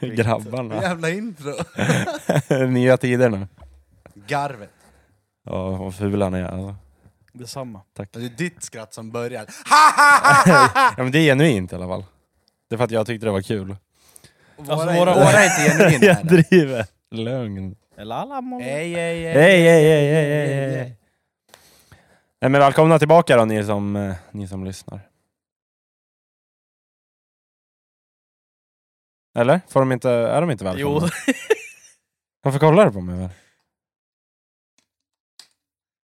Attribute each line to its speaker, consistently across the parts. Speaker 1: Grabbarna.
Speaker 2: Jävla intro.
Speaker 1: Nya tider nu.
Speaker 2: Garvet.
Speaker 1: Ja, vad ful han är. Alltså.
Speaker 3: Detsamma.
Speaker 1: Tack.
Speaker 2: Det är ditt skratt som börjar.
Speaker 1: Ja, men det är genuint i alla fall. Det är för att jag tyckte det var kul.
Speaker 2: Våra,
Speaker 3: Alltså,
Speaker 2: våra,
Speaker 3: våra-
Speaker 2: våra är inte genuina.
Speaker 1: Jag
Speaker 2: här.
Speaker 1: driver. Lögn.
Speaker 3: Eller alla må...
Speaker 2: Ej, ej, ej.
Speaker 1: Hej, hej, hej, hej, hej, hej. Nej, men välkomna tillbaka då ni som, eh, ni som lyssnar. Eller? Får de inte, är de inte välkomna?
Speaker 3: Jo.
Speaker 1: Varför kollar du på mig? väl?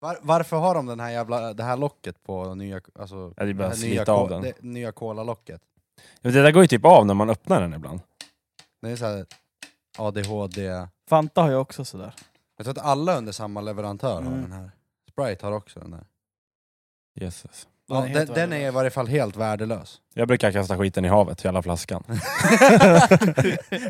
Speaker 2: Var, varför har de den här jävla, det här locket på den nya... Alltså,
Speaker 1: Ja, det är bara
Speaker 2: det här
Speaker 1: att
Speaker 2: nya,
Speaker 1: slita av
Speaker 2: ko-
Speaker 1: den.
Speaker 2: det nya cola-locket.
Speaker 1: Det där går ju typ av när man öppnar den ibland.
Speaker 2: Det är såhär ADHD...
Speaker 3: Fanta har jag också sådär.
Speaker 2: Jag tror att alla under samma leverantör har
Speaker 3: Mm.
Speaker 2: den här. Sprite har också den där.
Speaker 1: Jesus.
Speaker 2: Ja,
Speaker 3: helt
Speaker 2: den, den är i
Speaker 3: värdelös.
Speaker 2: varje fall helt värdelös.
Speaker 1: Jag brukar kasta skiten i havet, i hela flaskan.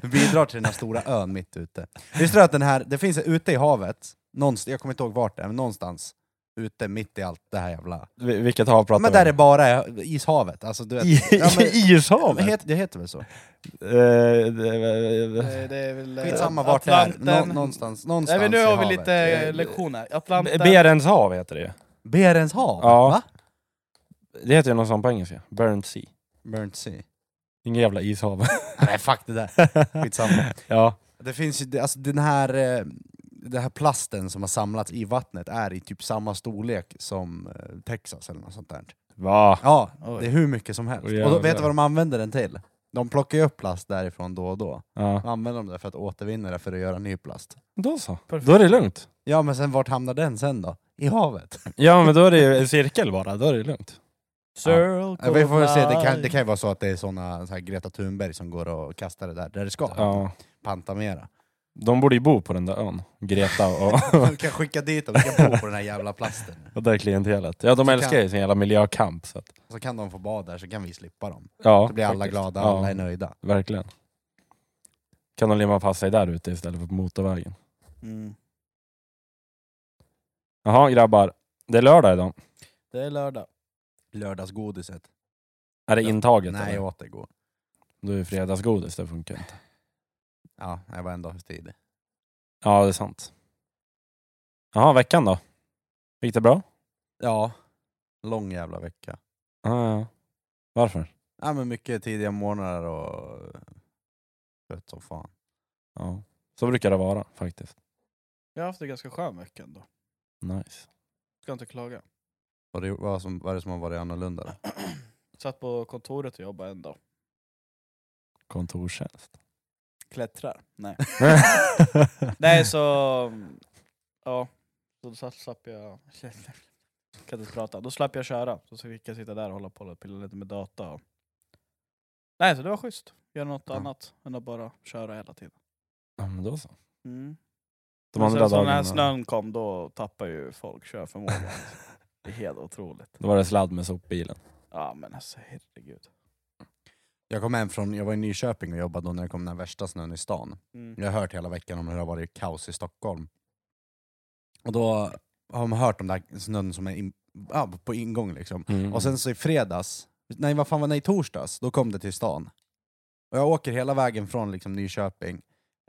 Speaker 2: Bidrar till den här stora ön mitt ute. Visste du att den här, det finns ute i havet, någonstans, jag kommer inte ihåg vart det är, men någonstans ute mitt i allt det här jävla...
Speaker 1: Vi- Vilket hav pratar
Speaker 2: Men
Speaker 1: vi
Speaker 2: där
Speaker 1: om?
Speaker 2: det bara är ishavet, alltså du vet...
Speaker 1: I,
Speaker 2: Ja, men-
Speaker 1: i ishavet?
Speaker 2: men het, det heter väl så?
Speaker 1: Eh, det-
Speaker 3: Det, det är väl... eh,
Speaker 2: Skitsamma vart det är, Nå,
Speaker 3: Atlanten.
Speaker 2: någonstans,
Speaker 3: Nej,
Speaker 2: någonstans
Speaker 3: men nu
Speaker 2: i
Speaker 3: har vi
Speaker 2: havet.
Speaker 3: lite eh, lektioner. Atlanten.
Speaker 1: Berens hav heter det ju.
Speaker 2: Berens hav?
Speaker 1: Ja.
Speaker 2: Va?
Speaker 1: Det heter ju något sånt på engelska. Burnt Sea.
Speaker 2: Burnt Sea.
Speaker 1: Ingen jävla ishav.
Speaker 2: Nej fuck det där, skitsamma.
Speaker 1: ja.
Speaker 2: Det finns ju, det- alltså den här, eh, den här plasten som har samlats i vattnet är i typ samma storlek som eh, Texas eller något sånt där.
Speaker 1: Va?
Speaker 2: Ja,
Speaker 3: Oj.
Speaker 2: det är hur mycket som helst.
Speaker 1: Åh,
Speaker 2: och då, vet du
Speaker 1: jävlar.
Speaker 2: vad de använder den till? De plockar ju upp plast därifrån då och då.
Speaker 1: Ja.
Speaker 2: De använder dem där för att återvinna det för att göra ny plast.
Speaker 1: Då så.
Speaker 3: Perfekt.
Speaker 1: Då är det lugnt.
Speaker 2: Ja men sen vart hamnar den sen då? I havet?
Speaker 1: Ja men då är det ju en cirkel bara, då är det lugnt.
Speaker 3: Circle
Speaker 2: Ja, vi får väl se, det kan,
Speaker 3: line.
Speaker 2: det kan ju vara så att det är såna så här Greta Thunberg som går och kastar det där, där det ska.
Speaker 1: Ja.
Speaker 2: Pantamera.
Speaker 1: De borde ju bo på den där ön, Greta och,
Speaker 2: Du kan skicka dit dem, de kan bo på den här jävla plasten.
Speaker 1: och det där klientelet. Ja de
Speaker 2: Så
Speaker 1: älskar ju sin jävla miljökamp. Så att,
Speaker 2: Så kan de få bada där så kan vi slippa dem.
Speaker 1: ja,
Speaker 2: Då blir alla
Speaker 1: faktiskt.
Speaker 2: glada,
Speaker 1: Ja.
Speaker 2: alla är nöjda.
Speaker 1: Verkligen. Kan de limma fast sig där ute istället för på motorvägen.
Speaker 3: Mm.
Speaker 1: Jaha grabbar, det är lördag idag.
Speaker 3: Det är lördag.
Speaker 2: Lördagsgodiset.
Speaker 1: Är det
Speaker 2: Ja.
Speaker 1: intaget
Speaker 2: Nej, jag
Speaker 1: eller?
Speaker 2: åt det igår.
Speaker 1: Då är ju fredagsgodis, det funkar inte.
Speaker 2: Ja, jag var en dag för tidig.
Speaker 1: Ja det är sant. Jaha, veckan då? Gick det bra?
Speaker 2: Ja. Lång jävla vecka.
Speaker 1: Ja, ja. Varför?
Speaker 2: Ja, men mycket tidiga morgnar och trött som fan.
Speaker 1: Ja. Så brukar det vara faktiskt.
Speaker 3: Jag har haft en ganska skön vecka ändå.
Speaker 1: Nice.
Speaker 3: Ska inte klaga.
Speaker 2: Vad, det, vad, som, vad är det som har varit annorlunda? då?
Speaker 3: Satt på kontoret och jobbade en dag.
Speaker 1: Kontorstjänst.
Speaker 3: Klättrar? Nej. Nej så... Ja. Så då slapp jag... Kan inte prata. Då slapp jag köra. Så fick jag sitta där och hålla på och pilla lite med data. och- Nej så det var schysst. Göra något
Speaker 2: Ja.
Speaker 3: annat än att bara köra hela tiden.
Speaker 1: Ja, men då så.
Speaker 3: Mm.
Speaker 1: De
Speaker 3: Men
Speaker 1: andra
Speaker 3: sen så när
Speaker 1: dagarna,
Speaker 3: snön kom då tappar ju folk körförmågan. det är helt otroligt.
Speaker 1: då var det sladd med sopbilen.
Speaker 3: Ja men alltså herregud.
Speaker 2: Jag kom hem från, jag var i Nyköping och jobbade då när det kom den här värsta snön i stan.
Speaker 3: Mm.
Speaker 2: Jag har hört hela veckan om hur det har varit kaos i Stockholm. Och då har man hört om den här snön som är in, ja, på ingång liksom.
Speaker 3: Mm.
Speaker 2: Och sen så i fredags, nej vad fan var det, i torsdags, då kom det till stan. Och jag åker hela vägen från liksom, Nyköping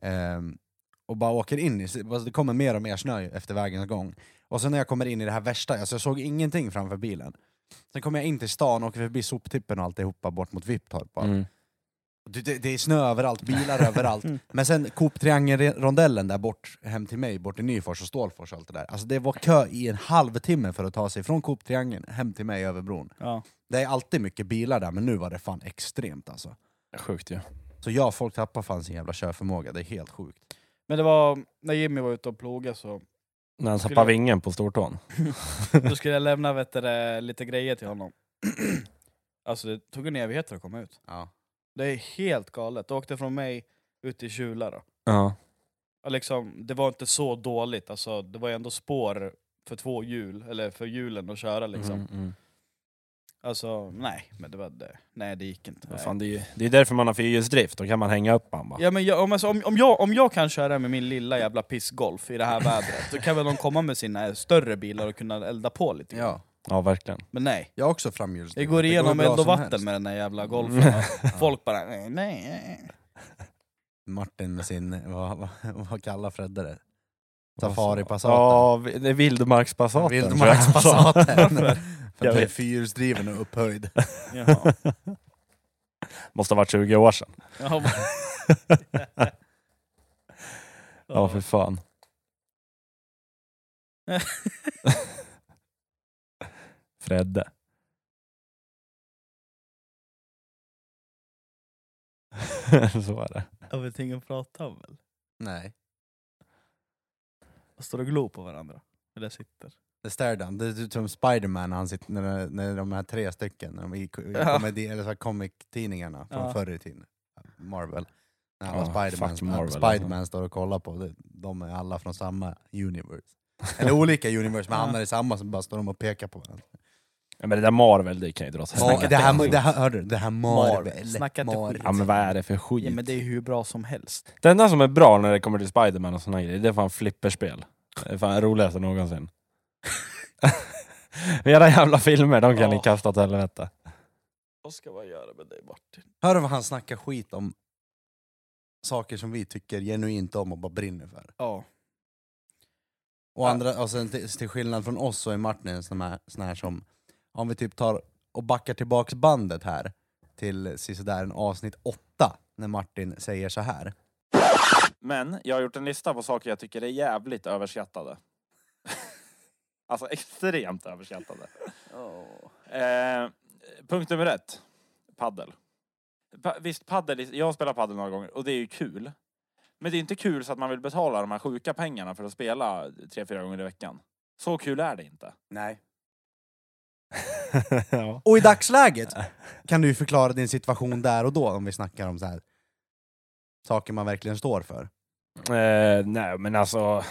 Speaker 2: ehm, och bara åker in i, alltså, det kommer mer och mer snö efter vägens gång. Och sen när jag kommer in i det här värsta, alltså, jag såg ingenting framför bilen. Sen kommer jag in till stan och åker förbi soptippen och alltihopa bort mot Viptorp. bara.
Speaker 1: Mm.
Speaker 2: Det, det, det är snö överallt, bilar överallt. Men sen Coop-triangelrondellen där bort hem till mig, bort till Nyfors och Stålfors och allt det där. Alltså det var kö i en halvtimme för att ta sig från Coop-triangeln hem till mig över bron.
Speaker 3: Ja.
Speaker 2: Det är alltid mycket bilar där, men nu var det fan extremt alltså.
Speaker 1: Sjukt ju.
Speaker 2: Så ja, folk tappar fan sin jävla körförmåga, det är helt sjukt.
Speaker 3: Men det var när Jimmy var ute och plogade så
Speaker 1: När han tappade
Speaker 3: Skulle-
Speaker 1: vingen på stortån.
Speaker 3: Då skulle jag lämna vet du, det, lite grejer till honom. Alltså det tog en evighet att komma ut.
Speaker 2: Ja.
Speaker 3: Det är helt galet. Det åkte från mig ut till Kjula då.
Speaker 1: Ja.
Speaker 3: Och liksom, det var inte så dåligt, alltså, det var ju ändå spår för två hjul, eller för hjulen att köra liksom.
Speaker 1: Mm, mm.
Speaker 3: Alltså nej, men det var det. Nej det gick inte.
Speaker 1: Vad
Speaker 3: Nej.
Speaker 1: Fan, det, är ju, det är därför man har fyrhjulsdrift, då kan man hänga upp han bara.
Speaker 3: Ja, men jag, om, alltså, om, om, jag, om jag kan köra med min lilla jävla pissgolf i det här vädret, då kan väl de komma med sina större bilar och kunna elda på lite grann.
Speaker 2: ja.
Speaker 1: Ja, verkligen.
Speaker 3: Men nej.
Speaker 2: Jag har också framhjulsdrift.
Speaker 3: Jag går igenom
Speaker 2: hur bra
Speaker 3: eld och
Speaker 2: som
Speaker 3: vatten
Speaker 2: helst.
Speaker 3: med den där
Speaker 1: Mm.
Speaker 3: jävla golfen. Folk bara nej, nej. nej.
Speaker 2: Martin med sin, vad, vad, vad kallar Fredde det?
Speaker 1: Vad sa-
Speaker 2: Safari-passaten.
Speaker 1: Ja, vi- det är vildmarkspassaten.
Speaker 2: Vildmarkspassaten.
Speaker 3: Varför?
Speaker 2: För
Speaker 1: Jag
Speaker 2: att den är
Speaker 1: vet.
Speaker 2: fyrhjulsdriven och upphöjd.
Speaker 3: Jaha.
Speaker 1: Måste ha varit 20 år sedan.
Speaker 3: Jaha.
Speaker 1: Ja, för fan. Fredde. Så är det.
Speaker 3: Jag vet ingen prata om väl?
Speaker 2: Nej.
Speaker 3: Jag står och glor på varandra. Eller sitter.
Speaker 2: Det stör den. Det är typ som Spiderman när han sitter, när, när de här tre stycken, när de i, i
Speaker 3: Ja.
Speaker 2: komedi, eller så här comic-tidningarna från
Speaker 3: Ja.
Speaker 2: förr i tiden. Marvel. När
Speaker 1: Ja,
Speaker 2: alla Spiderman,
Speaker 1: fuck
Speaker 3: alltså.
Speaker 1: Marvel,
Speaker 2: Spiderman står och kollar på, det, de är alla från samma universe. Eller olika universe, men
Speaker 3: Ja.
Speaker 2: hamnar i samma, så bara står de och pekar på varandå.
Speaker 1: Ja, men det där Marvel, det kan ju dra åt
Speaker 2: Ja,
Speaker 1: helvete.
Speaker 2: det, här, det här, hörde du? Det här Marvel.
Speaker 3: Marvel. Snacka inte
Speaker 2: Marvel.
Speaker 3: skit.
Speaker 1: Ja men vad är det för skit?
Speaker 3: Ja, men det är ju hur bra som helst.
Speaker 1: Det enda som är bra när det kommer till Spiderman och såna grejer, det är fan flipperspel. Det är fan roligast någonsin. Era jävla filmer, de kan ni
Speaker 3: Ja.
Speaker 1: kasta åt helvete.
Speaker 3: Vad ska man göra med dig Martin?
Speaker 2: Hör du vad han snackar skit om saker som vi tycker genuint om och bara brinner för.
Speaker 3: Ja.
Speaker 2: Och, andra, och sen till, till skillnad från oss så är Martin en sån här, sån här som, om vi typ tar och backar tillbaks bandet här till sisådär en avsnitt åtta, när Martin säger så här.
Speaker 1: Men jag har gjort en lista på saker jag tycker är jävligt överskattade. alltså extremt överskattade. Eh, punkt nummer ett. Paddel. Pa- visst, paddel, är- jag spelar paddel några gånger och det är ju kul. Men det är inte kul så att man vill betala de här sjuka pengarna för att spela tre, fyra gånger i veckan. Så kul är det inte.
Speaker 3: Nej.
Speaker 1: ja.
Speaker 2: Och i dagsläget kan du ju förklara din situation där och då om vi snackar om så här saker man verkligen står för.
Speaker 1: Eh, nej, men alltså...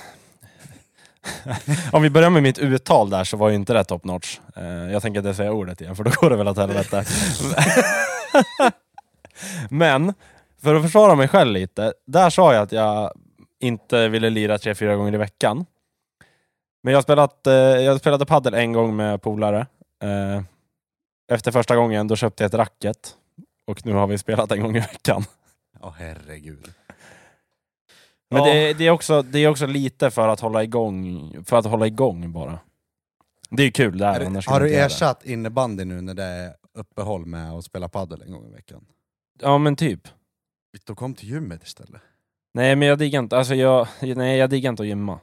Speaker 1: Om vi börjar med mitt uttal där så var ju inte det top notch. Eh, jag tänker inte säga ordet igen för då går det väl åt helvete. men, för att försvara mig själv lite. Där sa jag att jag inte ville lira tre, fyra gånger i veckan. Men jag, spelat, eh, jag spelade paddel en gång med polare. Eh, efter första gången då köpte jag ett racket. Och nu har vi spelat en gång i veckan.
Speaker 2: Åh herregud.
Speaker 1: Men
Speaker 3: Ja.
Speaker 1: det, det, är också, det är också lite för att hålla igång, för att hålla igång bara. Det är ju kul där, annars
Speaker 2: Har
Speaker 1: skulle
Speaker 2: du
Speaker 1: jag inte göra
Speaker 2: ersatt innebandy nu när det är uppehåll med att spela padel en gång i veckan?
Speaker 1: det. Ja men typ.
Speaker 2: Då kom till gymmet istället.
Speaker 1: Nej men jag diggar inte, alltså jag, nej jag diggar inte att gymma.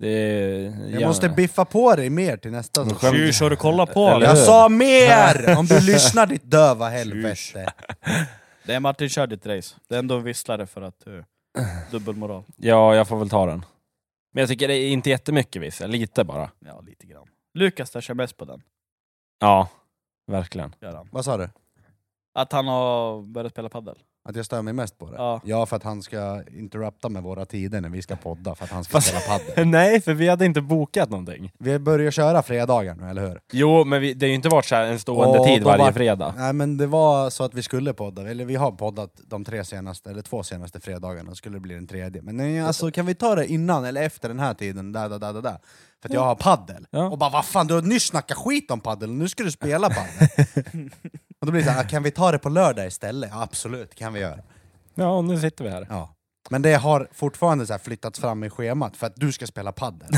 Speaker 1: Det är,
Speaker 2: Jag måste biffa på dig mer till nästa
Speaker 1: Men
Speaker 2: säsong.
Speaker 1: skämt-
Speaker 3: Tjus, har du kollat på?
Speaker 1: Eller-
Speaker 3: Eller?
Speaker 2: Jag sa mer! Om du lyssnar ditt döva helvete.
Speaker 3: Det är Martin, kör ditt race. Det är ändå en visslare för att du... Dubbelmoral.
Speaker 1: Ja, jag får väl ta den. Men jag tycker det är inte jättemycket visst, lite bara.
Speaker 3: Ja, lite grann. Lukas där kör bäst på den,
Speaker 1: Ja, verkligen.
Speaker 3: gör han.
Speaker 2: Vad sa du?
Speaker 3: Att han har börjat spela padel.
Speaker 2: Att jag stör mig mest på det?
Speaker 3: Ja.
Speaker 2: för att han ska interrupta med våra tider när vi ska podda, för att han ska
Speaker 1: Fast-
Speaker 2: spela padel.
Speaker 1: nej, för vi hade inte bokat någonting.
Speaker 2: Vi börjar köra fredagar nu, eller hur?
Speaker 1: Jo, men vi, det har ju inte varit så här en stående
Speaker 2: Åh,
Speaker 1: tid
Speaker 2: då
Speaker 1: varje
Speaker 2: var-
Speaker 1: fredag.
Speaker 2: Nej men det var så att vi skulle podda, eller vi har poddat de tre senaste, eller två senaste fredagarna, skulle det bli den tredje. Men nej, alltså kan vi ta det innan eller efter den här tiden? Där, där, där, där, där. För att jag har paddel.
Speaker 1: Ja.
Speaker 2: Och bara vad fan, du har nyss snackat skit om paddel, nu ska du spela paddel. och då blir det så här, "Ah, kan vi ta det på lördag istället? Ja, absolut, kan vi göra.
Speaker 1: Ja, och nu sitter vi här.
Speaker 2: Ja. Men det har fortfarande så här flyttats fram i schemat för att du ska spela paddel.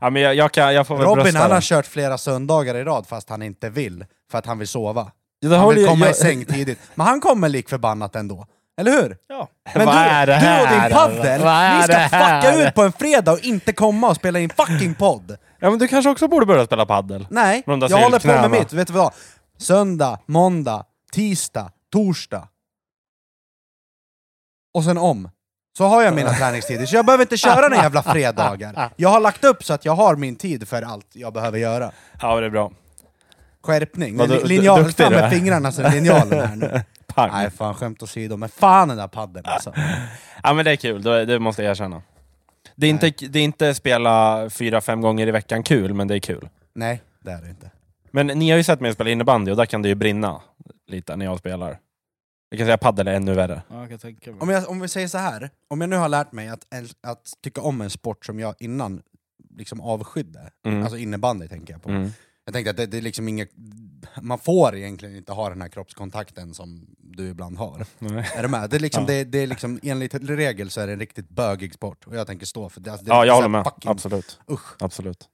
Speaker 1: Ja, men jag, jag, kan, jag får väl
Speaker 2: Robin
Speaker 1: brösta
Speaker 2: han
Speaker 1: den.
Speaker 2: har kört flera söndagar i rad fast han inte vill, för att han vill sova.
Speaker 1: Ja, det
Speaker 2: Han
Speaker 1: håller
Speaker 2: vill
Speaker 1: jag-
Speaker 2: komma i
Speaker 1: jag-
Speaker 2: säng tidigt, men han kommer lik förbannat ändå. Eller hur?
Speaker 3: Ja.
Speaker 2: Men
Speaker 1: Vad
Speaker 2: du,
Speaker 1: är det
Speaker 2: du och
Speaker 1: här?
Speaker 2: din paddel,
Speaker 1: Vad är
Speaker 2: ni
Speaker 1: det
Speaker 2: ska
Speaker 1: här?
Speaker 2: fucka ut på en fredag och inte komma och spela in fucking podd!
Speaker 1: Ja men du kanske också borde börja spela paddel.
Speaker 2: Nej,
Speaker 1: Med de där
Speaker 2: jag håller på med
Speaker 1: sylknäna.
Speaker 2: mitt. Vet du vad? Söndag, måndag, tisdag, torsdag. Och sen om. Så har jag mina träningstider, så jag behöver inte köra några jävla fredagar. Jag har lagt upp så att jag har min tid för allt jag behöver göra.
Speaker 1: Ja det är bra.
Speaker 2: Skärpning.
Speaker 1: Vad du-
Speaker 2: Lin-
Speaker 1: du-
Speaker 2: Linjal,
Speaker 1: duktig
Speaker 2: fram
Speaker 1: du
Speaker 2: med
Speaker 1: är.
Speaker 2: fingrarna så är linjalen här nu.
Speaker 1: Pang.
Speaker 2: Nej fan, skämt åsido, men fan den där padden alltså.
Speaker 1: Ja men det är kul, det, det måste jag erkänna. Det är, inte, det är inte spela fyra, fem gånger i veckan kul, men det är kul.
Speaker 2: Nej, det är det inte.
Speaker 1: Men ni har ju sett mig spela innebandy och där kan det ju brinna lite när jag spelar. Jag kan säga paddel är ännu värre.
Speaker 3: ja, jag kan tänka mig.
Speaker 2: Om, jag, om vi säger så här, om jag nu har lärt mig att, äl- att tycka om en sport som jag innan liksom avskydde.
Speaker 1: Mm.
Speaker 2: Alltså innebandy tänker jag på.
Speaker 1: Mm.
Speaker 2: Jag tänkte att det, det är liksom inget, man får egentligen inte ha den här kroppskontakten som du ibland har.
Speaker 1: Nej.
Speaker 2: Är du med? Det är liksom,
Speaker 1: Ja.
Speaker 2: det, det är liksom, enligt regel så är det en riktigt bögig sport, och jag tänker stå för det. Alltså, det är
Speaker 1: Ja,
Speaker 2: lite
Speaker 1: jag
Speaker 2: så
Speaker 1: håller
Speaker 2: här
Speaker 1: med.
Speaker 2: fucking-
Speaker 1: Absolut.
Speaker 2: Usch.
Speaker 1: Absolut.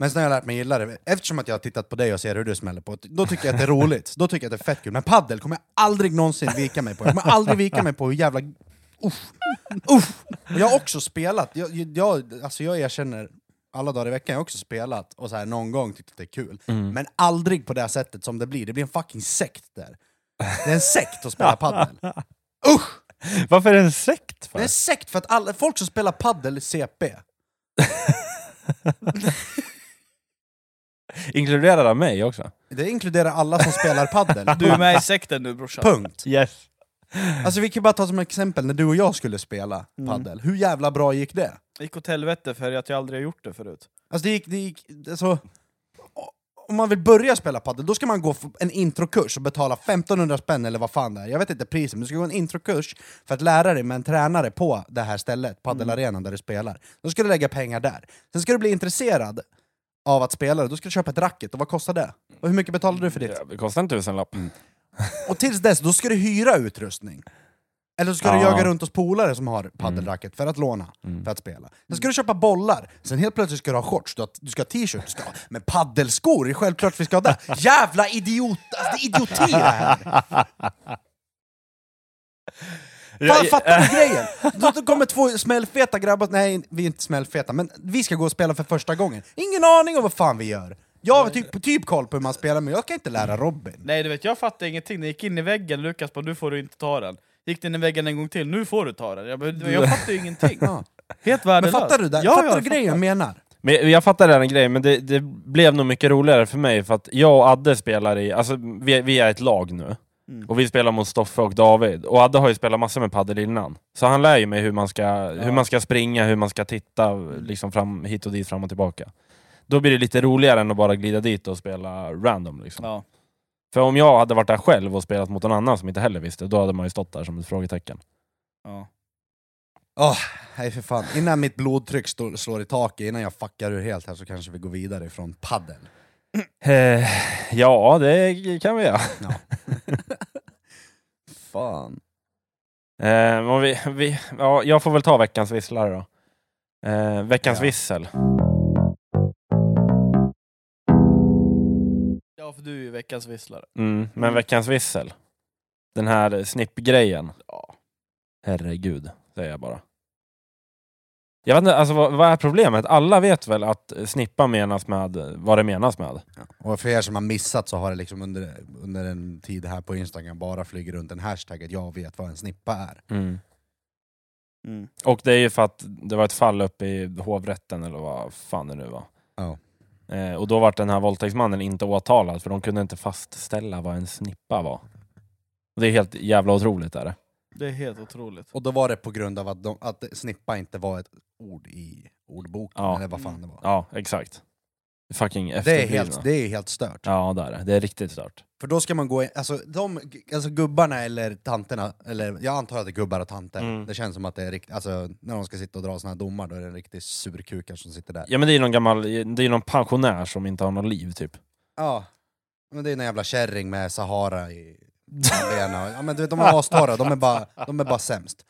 Speaker 2: Men sen har jag lärt mig gilla det, eftersom att jag har tittat på dig och ser hur du smäller på, då tycker jag att det är roligt, då tycker jag att det är fett kul. Men paddel kommer jag aldrig någonsin vika mig på, jag kommer aldrig vika mig på hur jävla... Usch! Usch! Och Jag har också spelat, jag, jag, alltså jag erkänner, alla dagar i veckan, jag har också spelat och så här någon gång tyckt att det är kul.
Speaker 3: Mm.
Speaker 2: Men aldrig på det här sättet som det blir, det blir en fucking sekt där. Det är en sekt att spela paddel. Usch!
Speaker 1: Varför är det en sekt? För?
Speaker 2: Det är en sekt för att alla, folk som spelar paddel är CP.
Speaker 1: Inkluderar han mig också?
Speaker 2: Det inkluderar alla som spelar paddel.
Speaker 3: Du är med i sekten nu brorsan.
Speaker 2: Punkt.
Speaker 1: Yes.
Speaker 2: Alltså vi kan bara ta som exempel när du och jag skulle spela paddel. hur jävla bra gick det?
Speaker 3: Det gick åt helvete för att jag aldrig har gjort det förut.
Speaker 2: Alltså det gick, det gick alltså, o- om man vill börja spela paddel då ska man gå f- en introkurs och betala 1500 spänn eller vad fan det är, jag vet inte priset, men du ska gå en introkurs för att lära dig med en tränare på det här stället, paddelarenan där du spelar. Då ska du lägga pengar där. Sen ska du bli intresserad av att spela det, då ska du köpa ett racket, och vad kostar det? Och hur mycket betalar du för ditt?
Speaker 1: Det kostar en tusenlapp.
Speaker 2: Och tills dess, då ska du hyra utrustning. Eller så ska du
Speaker 1: Ja.
Speaker 2: jaga runt hos polare som har paddelracket för att låna, för att spela. Sen ska du köpa bollar, sen helt plötsligt ska du ha shorts, du, har, du ska ha t-shirt, du ska ha, men paddelskor, det är självklart vi ska ha det. Jävla idiot, alltså, det är idioti det här! Fan, fattar du grejen? Då, då kommer två smällfeta grabbar, nej vi är inte smällfeta, men vi ska gå och spela för första gången. Ingen aning om vad fan vi gör. Jag har typ, typ koll på hur man spelar, men jag kan inte lära Robin.
Speaker 3: Nej du vet, jag fattade ingenting. Den gick in i väggen, Lukas bara nu får du inte ta den. Gick den in i väggen en gång till, nu får du ta den. Jag, bara, jag fattade ju ingenting.
Speaker 2: Ja.
Speaker 3: Helt värdelös.
Speaker 2: Men fattar du, det?
Speaker 3: Ja,
Speaker 2: fattar
Speaker 3: ja,
Speaker 2: du grejen jag menar?
Speaker 1: Men jag fattar den grejen, men det, det blev nog mycket roligare för mig för att jag och Adde spelar i, alltså vi, vi är ett lag nu. Och vi spelar mot Stoffe och David. Och Adde har ju spelat massor med padel innan. Så han lär ju mig hur man ska, hur man ska springa, hur man ska titta liksom fram, hit och dit, fram och tillbaka. Då blir det lite roligare än att bara glida dit och spela random. Liksom.
Speaker 3: Ja.
Speaker 1: För om jag hade varit där själv och spelat mot någon annan som inte heller visste, då hade man ju stått där som ett frågetecken.
Speaker 3: Ja.
Speaker 2: Åh, nej för fan. Innan mitt blodtryck stå- slår i taket, innan jag fuckar ur helt här så kanske vi går vidare ifrån paddel.
Speaker 1: Eh, ja, det kan vi göra.
Speaker 2: Fan.
Speaker 1: Eh, men vi, vi, ja, jag får väl ta veckans visslare då. Eh, veckans
Speaker 2: Ja.
Speaker 1: vissel.
Speaker 3: ja, för du är ju veckans visslare.
Speaker 1: Mm, men veckans vissel. Den här snippgrejen.
Speaker 3: Ja.
Speaker 1: Herregud, säger jag bara. Jag vet inte, alltså, vad, vad är problemet? Alla vet väl att snippa menas med vad det menas med?
Speaker 2: Och för er som har missat så har det liksom under, under en tid här på Instagram bara flugit runt en hashtag att jag vet vad en snippa är.
Speaker 3: Mm.
Speaker 1: Och det är ju för att det var ett fall uppe i hovrätten eller vad fan det nu var.
Speaker 2: Ja.
Speaker 1: Eh, och då var den här våldtäktsmannen inte åtalad för de kunde inte fastställa vad en snippa var. Och det är helt jävla otroligt är det.
Speaker 3: Det är helt otroligt.
Speaker 2: Och då var det på grund av att, de, att snippa inte var ett ord i ordboken,
Speaker 1: Ja.
Speaker 2: eller vad fan det var.
Speaker 1: Ja, exakt. Fucking
Speaker 2: Det är,
Speaker 1: efterblivna.
Speaker 2: helt, det är helt stört.
Speaker 1: Ja, det är det. Det är riktigt stört.
Speaker 2: För då ska man gå in, alltså, de, alltså gubbarna eller tanterna, eller jag antar att det är gubbar och tanter,
Speaker 1: Mm.
Speaker 2: det känns som att det är riktigt, alltså när de ska sitta och dra såna här domar då är det en riktig surkukar som sitter där. Ja.
Speaker 1: Ja men det är ju någon gammal, det är ju någon pensionär som inte har något liv typ.
Speaker 2: men det är en jävla kärring med Sahara i mellan benen. Ja men du vet, de är astorra, de är bara, de är bara sämst.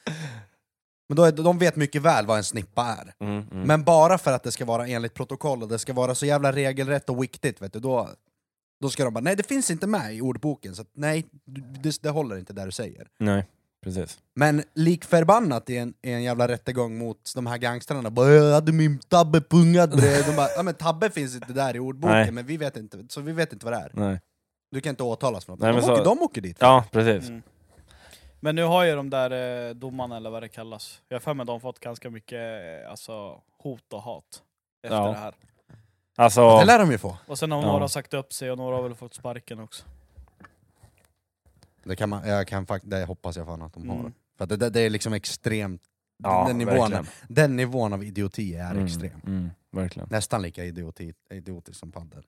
Speaker 2: Men då är, de vet mycket väl vad en snippa är.
Speaker 1: Mm.
Speaker 2: Men bara för att det ska vara enligt protokoll och det ska vara så jävla regelrätt och viktigt, vet du, då, då ska de bara nej det finns inte med i ordboken, så att, nej du- det, det håller inte där du säger.
Speaker 1: Nej, precis.
Speaker 2: Men lik förbannat i en, i en jävla rättegång mot de här gangstrarna, bara jag hade min tabbe pungad bredvid. De bara, ja men tabbe finns inte där i ordboken,
Speaker 1: Nej.
Speaker 2: men vi vet inte, så vi vet inte vad det är.
Speaker 1: Nej.
Speaker 2: Du kan inte åtalas för något.
Speaker 1: Nej,
Speaker 2: de,
Speaker 1: men
Speaker 2: åker,
Speaker 1: så-
Speaker 2: de åker dit.
Speaker 1: Ja, precis.
Speaker 3: Mm. Men nu har ju de där eh, domarna, eller vad det kallas, jag har för mig att de har fått ganska mycket eh, alltså, hot och hat efter
Speaker 1: Ja.
Speaker 3: det här.
Speaker 1: Alltså,
Speaker 2: Det lär de ju få.
Speaker 3: Och sen har
Speaker 1: Ja.
Speaker 3: några sagt upp sig och några har väl fått sparken också.
Speaker 2: Det, kan man, jag kan, fakt- det hoppas jag fan att de har.
Speaker 3: Mm.
Speaker 2: För att det, det, det är liksom extremt,
Speaker 1: ja,
Speaker 2: den, nivån,
Speaker 1: verkligen.
Speaker 2: den nivån av idioti är
Speaker 1: Mm,
Speaker 2: extrem.
Speaker 1: Mm, verkligen.
Speaker 2: Nästan lika idioti, idiotisk som padel.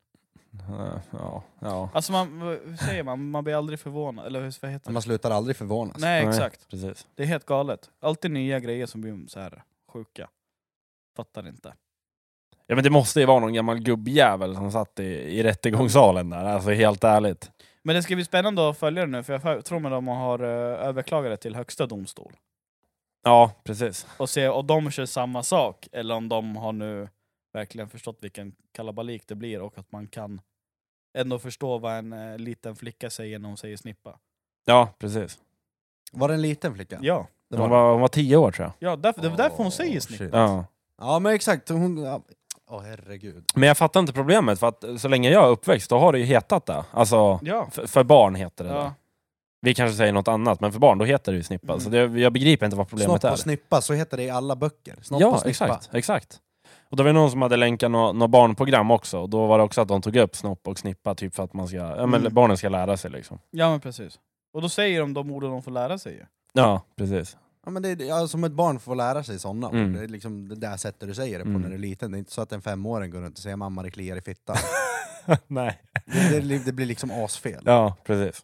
Speaker 1: Ja, ja, ja.
Speaker 3: Alltså man, v- hur säger man? Man blir aldrig förvånad, eller hur, vad heter det?
Speaker 2: Man slutar aldrig förvånas.
Speaker 3: Nej exakt,
Speaker 1: Precis.
Speaker 3: det är helt galet. Alltid nya grejer som blir så här sjuka. Fattar inte.
Speaker 1: Ja men det måste ju vara någon gammal gubbjävel som satt i, i rättegångssalen där, alltså helt ärligt.
Speaker 3: Men det ska bli spännande att följa det nu, för jag för- tror med dem har eh, överklagat det till högsta domstol.
Speaker 1: Ja, precis.
Speaker 3: Och se om de kör samma sak, eller om de har nu verkligen förstått vilken kalabalik det blir och att man kan ändå förstå vad en eh, liten flicka säger när hon säger snippa.
Speaker 1: Ja, precis.
Speaker 2: Var det en liten flicka?
Speaker 3: Ja,
Speaker 2: Det
Speaker 1: Hon
Speaker 2: var...
Speaker 1: var, hon var tio år tror jag.
Speaker 3: ja därför, det var därför hon säger
Speaker 2: Åh,
Speaker 3: snippa.
Speaker 2: shit.
Speaker 1: Ja.
Speaker 2: ja men exakt, hon... ja. Åh herregud.
Speaker 1: Men jag fattar inte problemet, för att så länge jag är uppväxt då har det ju hetat det. Alltså,
Speaker 3: Ja.
Speaker 1: f- för barn heter det
Speaker 3: ja.
Speaker 1: det. Vi kanske säger något annat, men för barn då heter det ju snippa.
Speaker 3: Mm.
Speaker 1: Så det, jag begriper inte vad problemet
Speaker 2: Snopp
Speaker 1: är.
Speaker 2: och snippa, så heter det i alla böcker. Snopp och
Speaker 1: Ja,
Speaker 2: snippa.
Speaker 1: exakt, exakt. Och det var det någon som hade länkat något nå barnprogram också, och då var det också att de tog upp snopp och snippa, typ för att man ska, ja, men
Speaker 3: Mm.
Speaker 1: barnen ska lära sig liksom.
Speaker 3: ja, men precis. Och då säger de de orden de får lära sig ju.
Speaker 1: Ja, precis.
Speaker 2: Ja, men det är, ja, som ett barn får lära sig sådana ord.
Speaker 1: Mm.
Speaker 2: Det är liksom det där sättet du säger det på
Speaker 1: Mm.
Speaker 2: när du är liten. Det är inte så att en femåring går runt och säger mamma det kliar i fittan.
Speaker 1: Nej.
Speaker 2: det, det, det blir liksom asfel.
Speaker 1: Ja, precis.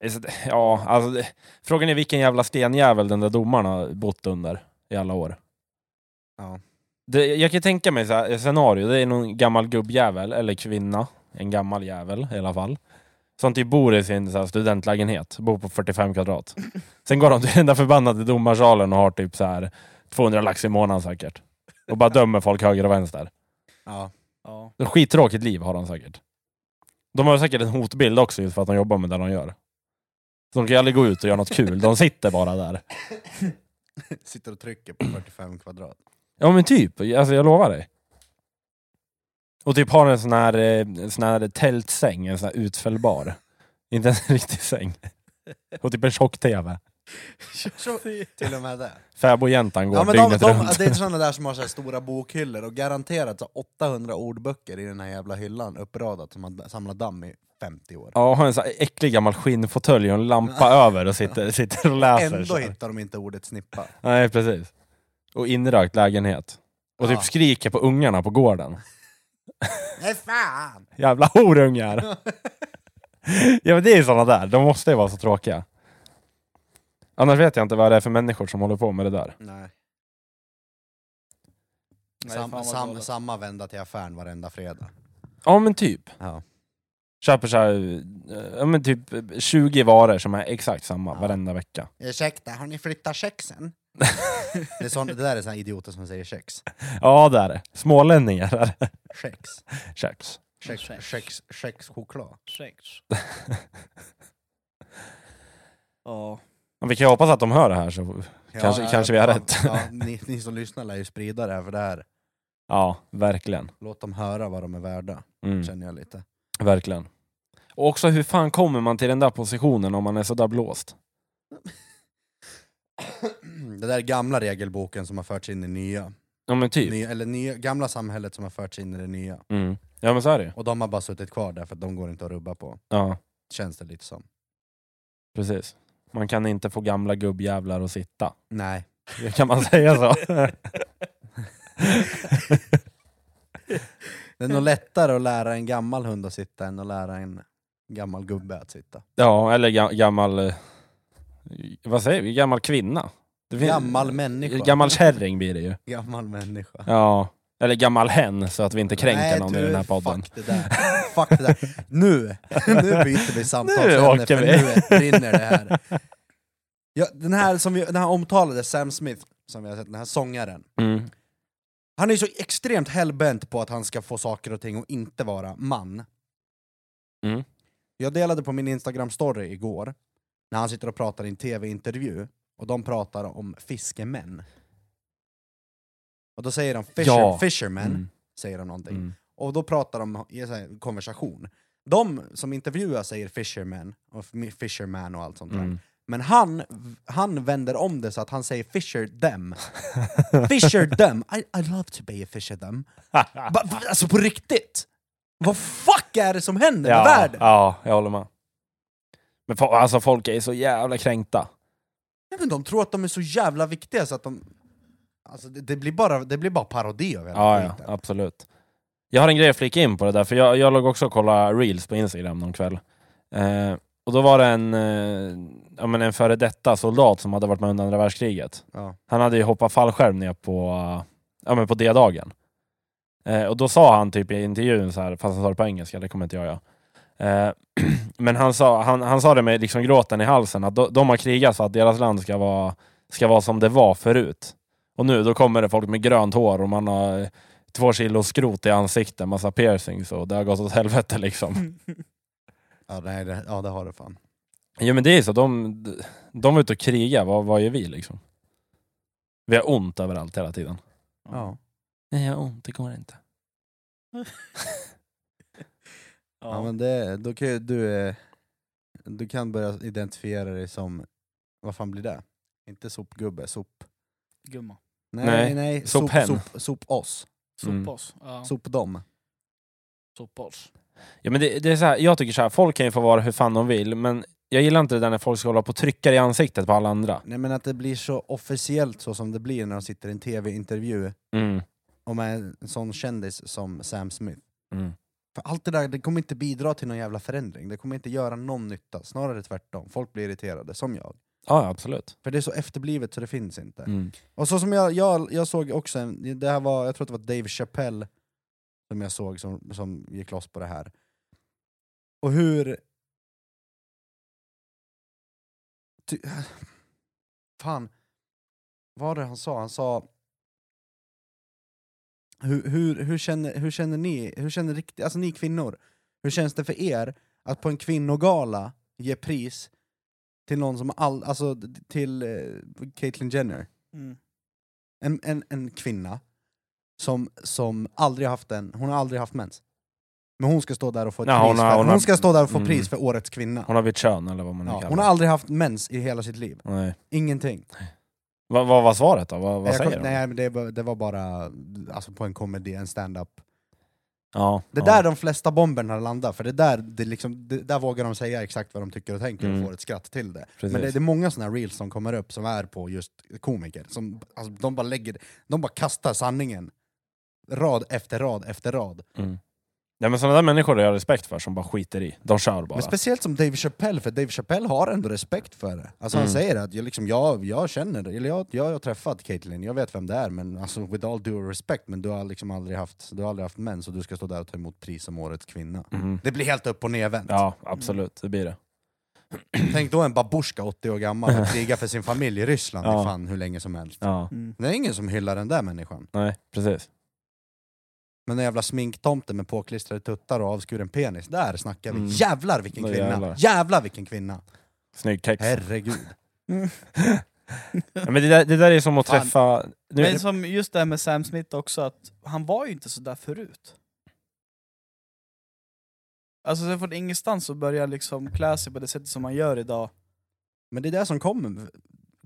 Speaker 1: Det är så- Ja, alltså, det- frågan är vilken jävla stenjävel den där domaren har bott under i alla år.
Speaker 2: Ja.
Speaker 1: Det, jag kan tänka mig så här, ett scenario, det är någon gammal gubbjävel, eller kvinna, en gammal jävel i alla fall, som typ bor i sin så här, studentlägenhet, bor på 45 kvadrat. Sen går de till den där förbannade domarsalen och har typ så här 200 lax i månaden säkert. Och bara dömer folk höger och vänster.
Speaker 2: Ja.
Speaker 3: Ja.
Speaker 1: Ett Skittråkigt liv har de säkert. De har säkert en hotbild också just för att de jobbar med det de gör. Så de kan ju aldrig gå ut och göra något kul, de sitter bara där.
Speaker 2: Sitter och trycker på 45 kvadrat.
Speaker 1: Ja men typ, alltså jag lovar dig. Och typ har en sån här, eh, en sån här tältsäng, en sån här utfällbar. Inte ens en riktig säng. Och typ en tjock-tv.
Speaker 2: Till och med det.
Speaker 1: Fäbodjäntan går
Speaker 2: Ja, men de, de,
Speaker 1: dygnet runt.
Speaker 2: det är sådana där som har så här stora bokhyllor och garanterat så 800 ordböcker i den här jävla hyllan uppradat som har samlat damm i 50 år.
Speaker 1: Ja, har en sån här äcklig gammal skinnfåtölj och en lampa över och sitter, sitter och läser.
Speaker 2: Ändå
Speaker 1: så här.
Speaker 2: hittar de inte ordet snippa.
Speaker 1: Nej, precis. Och inrökt lägenhet. Och typ
Speaker 2: Ja.
Speaker 1: skriker på ungarna på gården.
Speaker 2: Nej fan!
Speaker 1: Jävla horungar! ja men det är sådana där, de måste ju vara så tråkiga. Annars vet jag inte vad det är för människor som håller på med det där.
Speaker 2: Nej.
Speaker 3: Nej,
Speaker 2: Sam,
Speaker 3: fan vad
Speaker 2: sam,
Speaker 3: galet.
Speaker 2: samma vända till affären varenda fredag.
Speaker 1: Ja men typ.
Speaker 2: Ja.
Speaker 1: Köper så här, eh, ja, men typ 20 varor som är exakt samma
Speaker 2: Ja.
Speaker 1: varenda vecka.
Speaker 2: Ursäkta, har ni flyttat kexen? det, är sån, det där är såna idioter som säger kex.
Speaker 1: Ja det är det. Smålänningar är det.
Speaker 2: Kex.
Speaker 1: Köks.
Speaker 2: Kex,
Speaker 3: Kex.
Speaker 2: kex, kex choklad.
Speaker 3: Sex. Ja.
Speaker 1: Men Vi kan ju hoppas att de hör det här så... Kanske- kanske vi har
Speaker 2: fan.
Speaker 1: rätt.
Speaker 2: Ja, ni, ni som lyssnar lär ju sprida det här, för det här,
Speaker 1: Ja, verkligen.
Speaker 2: låt dem höra vad de är värda,
Speaker 1: Mm.
Speaker 2: känner jag lite.
Speaker 1: Verkligen. Och också hur fan kommer man till den där positionen om man är sådär blåst?
Speaker 2: Det där är gamla regelboken som har förts in i nya.
Speaker 1: Ja men typ.
Speaker 2: nya eller nya, gamla samhället som har förts in i det nya.
Speaker 1: Mm. Ja men så är det ju.
Speaker 2: Och de har bara suttit kvar där för att de går inte att rubba på.
Speaker 1: Ja,
Speaker 2: Känns det lite som.
Speaker 1: precis. Man kan inte få gamla gubbjävlar att sitta.
Speaker 2: Nej.
Speaker 1: Kan man säga så?
Speaker 2: Det är nog lättare att lära en gammal hund att sitta än att lära en gammal gubbe att sitta.
Speaker 1: ja, eller ga- gammal... eh, Vad säger vi? Gammal kvinna? Det finns-
Speaker 2: Gammal människa.
Speaker 1: Gammal kärring blir det ju.
Speaker 2: Gammal människa.
Speaker 1: Ja. Eller gammal hen, så att vi inte kränker
Speaker 2: Nej,
Speaker 1: någon
Speaker 2: du,
Speaker 1: i den här podden.
Speaker 2: Fuck det där. Fuck det där. Nu, nu byter vi
Speaker 1: åker
Speaker 2: samtalsämne för
Speaker 1: vi.
Speaker 2: nu brinner det här. Ja, den här som vi, den här omtalade Sam Smith, som vi har sett, den här sångaren.
Speaker 1: Mm.
Speaker 2: Han är ju så extremt hellbent på att han ska få saker och ting och inte vara man.
Speaker 1: Mm.
Speaker 2: Jag delade på min Instagram-story igår, när han sitter och pratar i en tv-intervju, och de pratar om fiskemän. Och då säger de fisher,
Speaker 1: Ja.
Speaker 2: fisherman,
Speaker 1: Mm.
Speaker 2: säger de någonting.
Speaker 1: Mm.
Speaker 2: Och då pratar de i en sån här konversation. De som intervjuar säger fisherman och f- fisherman och allt sånt där.
Speaker 1: Mm.
Speaker 2: Men han, han vänder om det så att han säger fisher them. fisher them! I, I love to be a fisher them. Ba, va- alltså på riktigt! Vad fuck är det som händer med
Speaker 1: Ja,
Speaker 2: världen?
Speaker 1: ja, jag håller med. Men fo- alltså folk är så jävla kränkta.
Speaker 2: Nej, men de tror att de är så jävla viktiga så att de... Alltså det, det, blir, bara, det blir bara parodi av hela
Speaker 1: Ja, ja,
Speaker 2: skiten.
Speaker 1: absolut. Jag har en grej att flika in på det där, för jag, jag låg också och kollade reels på Instagram någon kväll. Eh, och då var det en, eh, ja, men en före detta soldat som hade varit med under andra världskriget.
Speaker 2: Ja.
Speaker 1: Han hade ju hoppat fallskärm ner på, eh, ja, men på D-dagen. Eh, och då sa han typ i intervjun, så här, fast han sa det på engelska, det kommer inte jag göra. Eh, men han sa, han, han sa det med liksom gråten i halsen, att de, de har krigat för att deras land ska vara, ska vara som det var förut. Och nu då kommer det folk med grönt hår och man har eh, två kilo skrot i ansiktet, massa piercings och det har gått åt helvete liksom.
Speaker 2: Ja, nej, det, ja det har du fan.
Speaker 1: Jo men det är så, de, de är ute och krigar, vad, vad gör vi liksom? Vi har ont överallt hela tiden.
Speaker 2: Ja.
Speaker 1: Nej jag har ont, det går inte. Mm.
Speaker 2: Ja, men det, då kan ju du, eh, du kan börja identifiera dig som, vad fan blir det? Inte sopgubbe, sop...
Speaker 3: Gumma.
Speaker 2: Nej,
Speaker 1: Nej,
Speaker 2: nej, nej.
Speaker 1: sophen.
Speaker 2: Sop, sop, sop oss.
Speaker 1: Mm.
Speaker 3: Sopas. Ja.
Speaker 2: Sopdom.
Speaker 3: Sopas.
Speaker 1: Ja, men det, det är så här, jag tycker så här, folk kan ju få vara hur fan de vill, men jag gillar inte det där när folk ska hålla på och trycka i ansiktet på alla andra.
Speaker 2: Nej men att det blir så officiellt så som det blir när de sitter i en tv-intervju och med en sån kändis som Sam Smith. För allt det där det kommer inte bidra till någon jävla förändring, det kommer inte göra någon nytta, snarare tvärtom. Folk blir irriterade, som jag.
Speaker 1: Ja, ja, absolut.
Speaker 2: För det är så efterblivet så det finns inte. Och så som jag, jag, jag såg också, en, det här var, jag tror att det var Dave Chappelle som jag såg som, som gick loss på det här. Och hur... Ty, fan, vad var det han sa? Han sa... Hur, hur, hur, känner, hur känner ni, hur känner riktigt, alltså ni kvinnor, hur känns det för er att på en kvinnogala ge pris till någon som all, alltså till eh, Caitlyn Jenner?
Speaker 3: Mm.
Speaker 2: en, en, en kvinna som, som aldrig haft en, hon har aldrig haft mens. Men hon ska stå där och få, ett
Speaker 1: Nej,
Speaker 2: pris,
Speaker 1: hon har-
Speaker 2: för,
Speaker 1: hon
Speaker 2: hon
Speaker 1: har-
Speaker 2: ska stå där och få
Speaker 1: Mm.
Speaker 2: pris för årets kvinna.
Speaker 1: Hon har bytt kön eller vad man nu
Speaker 2: Ja,
Speaker 1: kallar
Speaker 2: hon har aldrig haft mens i hela sitt liv.
Speaker 1: det. Nej.
Speaker 2: Ingenting.
Speaker 1: Vad, vad var svaret då? Vad, vad
Speaker 2: Jag
Speaker 1: säger
Speaker 2: kom,
Speaker 1: de?
Speaker 2: nej, men det, var- det var bara alltså, på en comedy, en stand-up.
Speaker 1: Ja,
Speaker 2: Det är
Speaker 1: ja.
Speaker 2: där de flesta bomberna landar, för det är där, det liksom, det, där vågar de säga exakt vad de tycker och tänker
Speaker 1: Mm.
Speaker 2: och får ett skratt till det.
Speaker 1: Precis.
Speaker 2: Men det, det är många såna här reels som kommer upp som är på just komiker. Som, alltså, de, bara lägger, de bara kastar sanningen. Rad efter rad efter rad.
Speaker 1: Mm. Nej, men sådana där människor har jag respekt för som bara skiter i. De kör bara.
Speaker 2: Men speciellt som Dave Chappelle, för Dave Chappelle har ändå respekt för det. Alltså
Speaker 1: Mm.
Speaker 2: han säger att jag, liksom, jag, jag känner, eller jag, jag har träffat Caitlyn, jag vet vem det är, men alltså with all due respect, men du har liksom aldrig haft, du har aldrig haft mens och du ska stå där och ta emot pris som årets kvinna.
Speaker 1: Mm.
Speaker 2: Det blir helt upp och nervänt.
Speaker 1: Ja, absolut. Det blir det.
Speaker 2: Tänk då en babusjka 80 år gammal och kriga för sin familj i Ryssland
Speaker 1: Ja.
Speaker 2: i fan hur länge som helst.
Speaker 1: Ja,
Speaker 3: Mm.
Speaker 2: Det är ingen som hyllar den där människan.
Speaker 1: nej, precis.
Speaker 2: Men den jävla sminktomten med påklistrade tuttar och avskuren penis, där snackar vi.
Speaker 1: Mm.
Speaker 2: Jävlar vilken
Speaker 1: Då
Speaker 2: kvinna!
Speaker 1: jävlar.
Speaker 2: Jävlar. vilken kvinna!
Speaker 1: Snygg kex.
Speaker 2: Herregud.
Speaker 1: Ja, men det, där, det där är som att
Speaker 2: Fan.
Speaker 1: träffa... Nu,
Speaker 3: Men som just det här med Sam Smith också, att han var ju inte sådär förut. Alltså sen från ingenstans så börjar liksom klä sig på det sättet som man gör idag.
Speaker 2: Men det är det som kommer,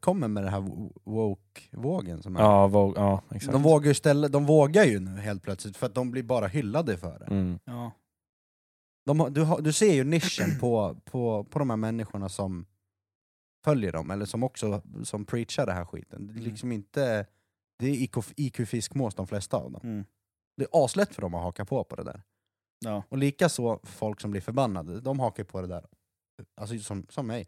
Speaker 2: kommer med den här wo- woke-vågen. Som är.
Speaker 1: ja, våg, ja, exakt.
Speaker 2: de, vågar ju ställa, de vågar ju nu helt plötsligt för att de blir bara hyllade för det.
Speaker 1: Mm.
Speaker 3: Ja.
Speaker 2: De, har- du, har- du ser ju nischen på, på, på de här människorna som följer dem, eller som också som preachar det här skiten. Det är
Speaker 3: Mm.
Speaker 2: liksom inte... Det är IQ IQ-fiskmås de flesta av dem.
Speaker 3: Mm.
Speaker 2: Det är aslätt för dem att haka på på det där.
Speaker 3: Ja.
Speaker 2: Och likaså folk som blir förbannade, de hakar på det där. Alltså som, som mig.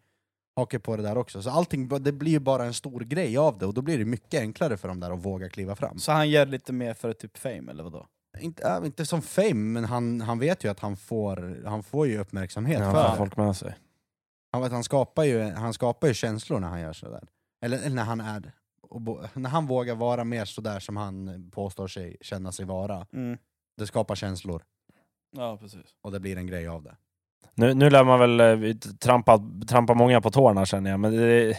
Speaker 2: Hakar på det där också. Så allting, b- det blir ju bara en stor grej av det och då blir det mycket enklare för dem där att våga kliva fram.
Speaker 3: Så han gör lite mer för typ fame eller vadå?
Speaker 2: Inte, äh, inte som fame, men han, han vet ju att han får, han får ju uppmärksamhet
Speaker 1: Ja,
Speaker 2: för
Speaker 1: får
Speaker 2: det.
Speaker 1: folk med sig.
Speaker 2: Han, vet, han, skapar ju, han skapar ju känslor när han gör sådär. Eller, eller när han är och bo, när han vågar vara mer sådär som han påstår sig känna sig vara.
Speaker 3: Mm.
Speaker 2: Det skapar känslor
Speaker 3: Ja precis.
Speaker 2: och det blir en grej av det.
Speaker 1: Nu, nu lär man väl eh, vi trampa, trampa många på tårna känner jag, men det,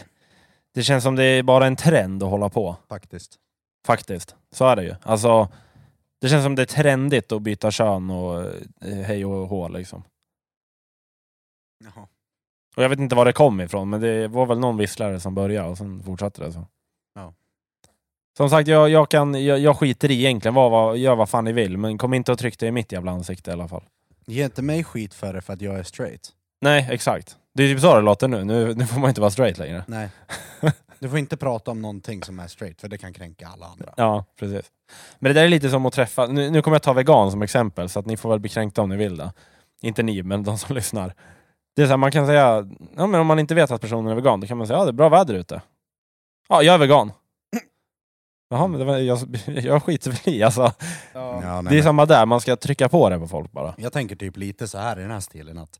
Speaker 1: det känns som det är bara en trend att hålla på.
Speaker 2: Faktiskt.
Speaker 1: Faktiskt. Så är det ju. Alltså, det känns som det är trendigt att byta kön och eh, hej och hå liksom.
Speaker 2: Jaha.
Speaker 1: Och jag vet inte var det kom ifrån, men det var väl någon visslare som började och sen fortsatte det så.
Speaker 2: Ja.
Speaker 1: Som sagt, jag, jag, kan, jag, jag skiter i egentligen, vad, vad, gör vad fan ni vill, men kom inte och tryck det i mitt jävla ansikte i alla fall.
Speaker 2: Ge inte mig skit för det för att jag är straight.
Speaker 1: Nej, exakt. Det är typ så det låter nu. Nu, nu får man inte vara straight längre.
Speaker 2: Nej. Du får inte prata om någonting som är straight för det kan kränka alla andra.
Speaker 1: Ja, precis. Men det där är lite som att träffa, nu, nu kommer jag ta vegan som exempel, så att ni får väl bli kränkta om ni vill det. Inte ni, men de som lyssnar. Det är så här, man kan säga, ja, men om man inte vet att personen är vegan, då kan man säga ja det är bra väder ute. Ja, jag är vegan. Jaha, men det var, jag, jag skiter väl i alltså.
Speaker 3: Ja.
Speaker 2: Ja, nej,
Speaker 1: det är
Speaker 2: men-
Speaker 1: samma där, man ska trycka på det på folk bara.
Speaker 2: Jag tänker typ lite så här i den här stilen att